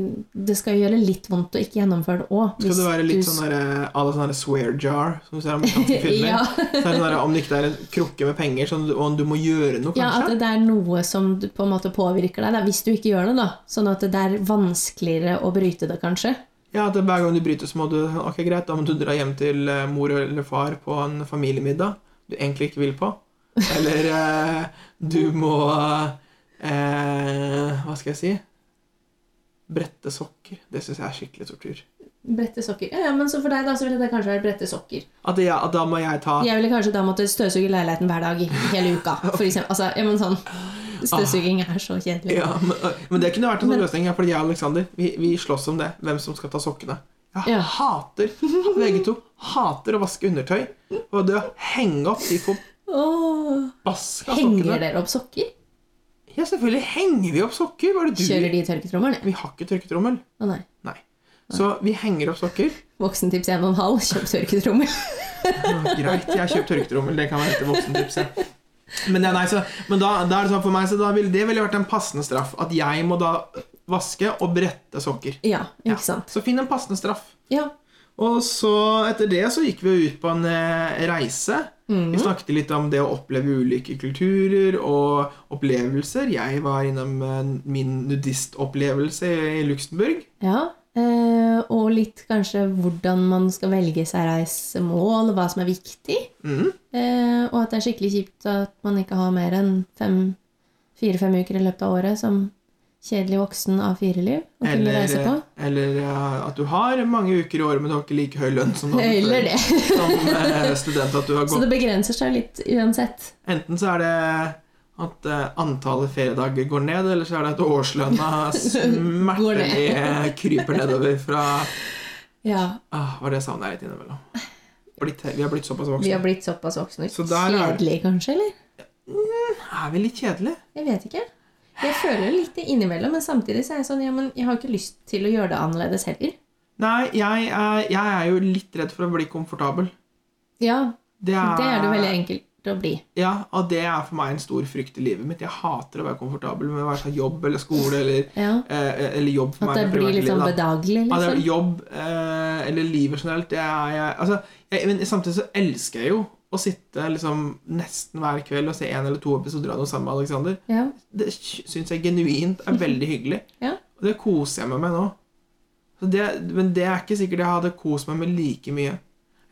Speaker 1: det skal gjøre litt vondt å ikke gjennomføre det òg.
Speaker 2: Skal det være litt sånn derre à la sånn derre swear jar, som du ser i amerikanske filmer?
Speaker 1: ja,
Speaker 2: så er det sånn derre, om det ikke er en krukke med penger, sånn, at du- og du må gjøre noe,
Speaker 1: ja, at
Speaker 2: kanskje?
Speaker 1: det er noe som du på en måte påvirker deg, da, hvis du ikke gjør det, da. Sånn at det er vanskeligere å bryte det, kanskje.
Speaker 2: Ja, at det- hver gang du bryter, så må du sånn, Ok, greit, da må du dra hjem til eh, mor eller far på en familiemiddag du egentlig ikke vil på. Eller eh, du må eh, Hva skal jeg si? Brette sokker. Det syns jeg er skikkelig tortur.
Speaker 1: Brette sokker. Ja, ja, men så for deg, da, så ville det kanskje vært brette sokker.
Speaker 2: At, jeg, at da må jeg ta
Speaker 1: Jeg ville kanskje da måtte støvsuge leiligheten hver dag i hele uka. For eksempel. altså, ja, men sånn, støvsuging er så kjedelig.
Speaker 2: Ja, men, men det kunne vært en sånn
Speaker 1: Men-
Speaker 2: løsning. ja, Fordi jeg og Alexander vi, vi slåss om det. Hvem som skal ta sokkene. Jeg
Speaker 1: Ja.
Speaker 2: hater begge to hater å vaske undertøy. Og det å henge opp de
Speaker 1: Åh.
Speaker 2: forbaska
Speaker 1: Henger
Speaker 2: sokkene
Speaker 1: dere opp sokker?
Speaker 2: Ja, selvfølgelig henger vi opp sokker! Hva er det du
Speaker 1: Kjører de i tørketrommelen?
Speaker 2: Vi har ikke tørketrommel.
Speaker 1: Å nei.
Speaker 2: Nei. Så vi henger opp sokker.
Speaker 1: Voksentips 1,5. Kjøp tørketrommel.
Speaker 2: Ja, greit, jeg har kjøpt tørketrommel. Det kan være et voksentips. Ja. Men, ja, nei, så, men da, da er det sånn for meg, så da vil, det ville vært en passende straff. At jeg må da vaske og brette sokker.
Speaker 1: Ja, ikke sant.
Speaker 2: Så finn en passende straff.
Speaker 1: Ja.
Speaker 2: Og så etter det så gikk vi jo ut på en eh, reise.
Speaker 1: Mhm.
Speaker 2: Vi snakket litt om det å oppleve ulike kulturer og opplevelser. Jeg var innom eh, min nudistopplevelse i Luxembourg.
Speaker 1: ja. Eh, og litt kanskje hvordan man skal velge seg reisemål, hva som er viktig.
Speaker 2: Mhm.
Speaker 1: Eh, og at det er skikkelig kjipt at man ikke har mer enn fem- fire-fem uker i løpet av året som kjedelig voksen av fireliv å kunne reise på.
Speaker 2: eller eh, at du har mange uker i året, men du har ikke like høy lønn som, du hadde før.
Speaker 1: Eller det.
Speaker 2: som eh, student. At du har
Speaker 1: Så
Speaker 2: gått.
Speaker 1: det begrenser seg litt uansett.
Speaker 2: Enten så er det at eh, antallet feriedager går ned, eller så er det at årslønna smertelig eh, kryper nedover fra
Speaker 1: Ja,
Speaker 2: Ah, var det savner jeg litt innimellom. Blitt, vi har blitt såpass
Speaker 1: Vi
Speaker 2: voksne.
Speaker 1: har blitt såpass voksne.
Speaker 2: Så der er det.
Speaker 1: Kjedelig kanskje, eller?
Speaker 2: Er vi litt kjedelige?
Speaker 1: Jeg vet ikke. Jeg føler litt det innimellom, men samtidig så er jeg sånn Ja, men jeg har ikke lyst til å gjøre det annerledes heller.
Speaker 2: Nei, jeg er, jeg er jo litt redd for å bli komfortabel.
Speaker 1: Ja,
Speaker 2: Det er,
Speaker 1: det er det veldig enkelt å bli.
Speaker 2: Ja, og det er for meg en stor frykt i livet mitt. Jeg hater å være komfortabel med å være sånn jobb eller skole eller,
Speaker 1: Ja.
Speaker 2: eh, eller jobb for
Speaker 1: At
Speaker 2: meg.
Speaker 1: det
Speaker 2: med
Speaker 1: blir litt
Speaker 2: privatlivet,
Speaker 1: sånn
Speaker 2: da.
Speaker 1: bedagelig,
Speaker 2: Ja, det er
Speaker 1: liksom.
Speaker 2: jobb eh, eller livet generelt, det er jeg Altså, jeg, men samtidig så elsker jeg jo å sitte liksom nesten hver kveld og se en eller to episoder av noe sammen med Alexander.
Speaker 1: Ja.
Speaker 2: det syns jeg genuint er veldig hyggelig.
Speaker 1: Ja.
Speaker 2: Og det koser jeg meg med nå. Så det, men det er ikke sikkert jeg hadde kost meg med like mye.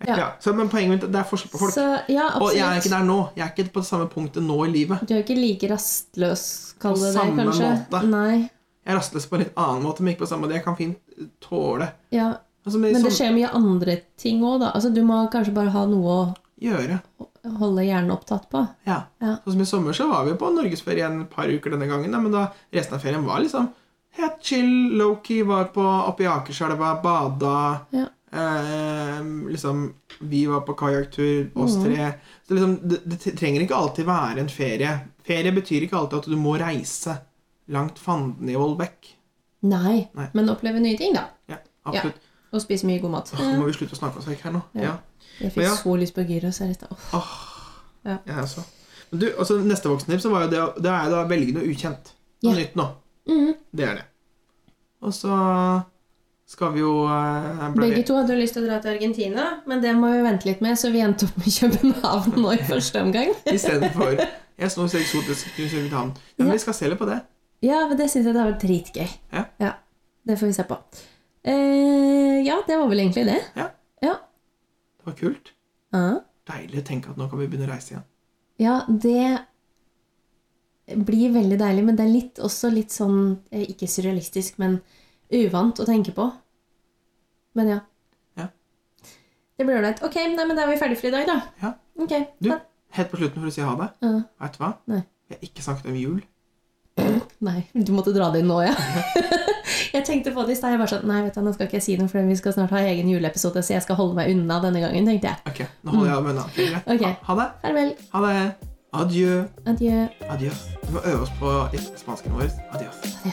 Speaker 2: Jeg,
Speaker 1: Ja.
Speaker 2: ja. så, men poenget mitt er at det er forskjell på folk.
Speaker 1: Så ja,
Speaker 2: og jeg er ikke
Speaker 1: absolutt.
Speaker 2: der nå. Jeg er ikke på det samme punktet nå i livet.
Speaker 1: Du er ikke like rastløs, kall
Speaker 2: På
Speaker 1: det det,
Speaker 2: samme
Speaker 1: kanskje.
Speaker 2: måte.
Speaker 1: Nei.
Speaker 2: Jeg er rastløs på en litt annen måte, men ikke på samme måte. Jeg kan fint tåle
Speaker 1: Ja.
Speaker 2: Altså, med
Speaker 1: Men det
Speaker 2: sånn-
Speaker 1: skjer mye andre ting òg, da. Altså, du må kanskje bare ha noe
Speaker 2: gjøre.
Speaker 1: å holde hjernen opptatt på.
Speaker 2: Ja.
Speaker 1: Ja.
Speaker 2: Sånn som I sommer så var vi på norgesferie en par uker denne gangen. Da, men da resten av ferien var liksom helt chill, low-key, var på oppe i Akerselva, bada
Speaker 1: Ja.
Speaker 2: eh, Liksom Vi var på kajakktur, oss
Speaker 1: Mhm.
Speaker 2: tre. Så liksom, det, det trenger ikke alltid være en ferie. Ferie betyr ikke alltid at du må reise langt fanden i Volbekk.
Speaker 1: Nei,
Speaker 2: Nei.
Speaker 1: men oppleve nye ting, da.
Speaker 2: Ja, absolutt.
Speaker 1: Og spise mye god mat.
Speaker 2: Åh, nå må vi slutte å snakke oss vekk her nå.
Speaker 1: Mhm. Ja.
Speaker 2: Ja.
Speaker 1: Jeg
Speaker 2: Men
Speaker 1: fikk
Speaker 2: ja.
Speaker 1: så lyst på gyros her i stad. Åh,
Speaker 2: Jeg også. Men du, altså, neste voksentips så var jo det, å- det er jo da å velge noe ukjent. Noe
Speaker 1: Ja.
Speaker 2: nytt nå.
Speaker 1: Mhm.
Speaker 2: Det er det. Og så skal vi jo eh, ble-
Speaker 1: Begge to hadde jo lyst til å dra til Argentina, men det må vi vente litt med, så vi endte opp med København nå i første omgang.
Speaker 2: Istedenfor Jeg snor så eksotisk til København. Ja, men
Speaker 1: Ja.
Speaker 2: vi skal se litt på det.
Speaker 1: Ja, men det syns jeg det har vært dritgøy.
Speaker 2: Ja.
Speaker 1: Det får vi se på. Eh, ja, det var vel egentlig det.
Speaker 2: Det var kult.
Speaker 1: Ja.
Speaker 2: Deilig å tenke at nå kan vi begynne å reise igjen.
Speaker 1: Ja, det blir veldig deilig, men det er litt, også litt sånn eh, Ikke surrealistisk, men uvant å tenke på. Men ja.
Speaker 2: Ja.
Speaker 1: Det blir ålreit. Ok, nei, men da er vi ferdige for i dag, da.
Speaker 2: Ja.
Speaker 1: Ok.
Speaker 2: Du,
Speaker 1: da-
Speaker 2: helt på slutten for å si ha det.
Speaker 1: Ja.
Speaker 2: Vet du hva?
Speaker 1: Nei.
Speaker 2: Vi har ikke snakket om jul.
Speaker 1: Nei, du måtte dra det inn nå, ja. jeg tenkte på det i stad. Jeg bare sånn Nei, vet du, nå skal ikke jeg si noe, for vi skal snart ha egen juleepisode, så jeg skal holde meg unna denne gangen, tenkte jeg.
Speaker 2: Ok, nå holder jeg av med en annen ferie.
Speaker 1: Ok.
Speaker 2: Ha- Ha det.
Speaker 1: Farvel.
Speaker 2: Ha det. Adjø.
Speaker 1: Adjø.
Speaker 2: Adios. Vi må øve oss på spansken vår. Adios.
Speaker 1: Adios.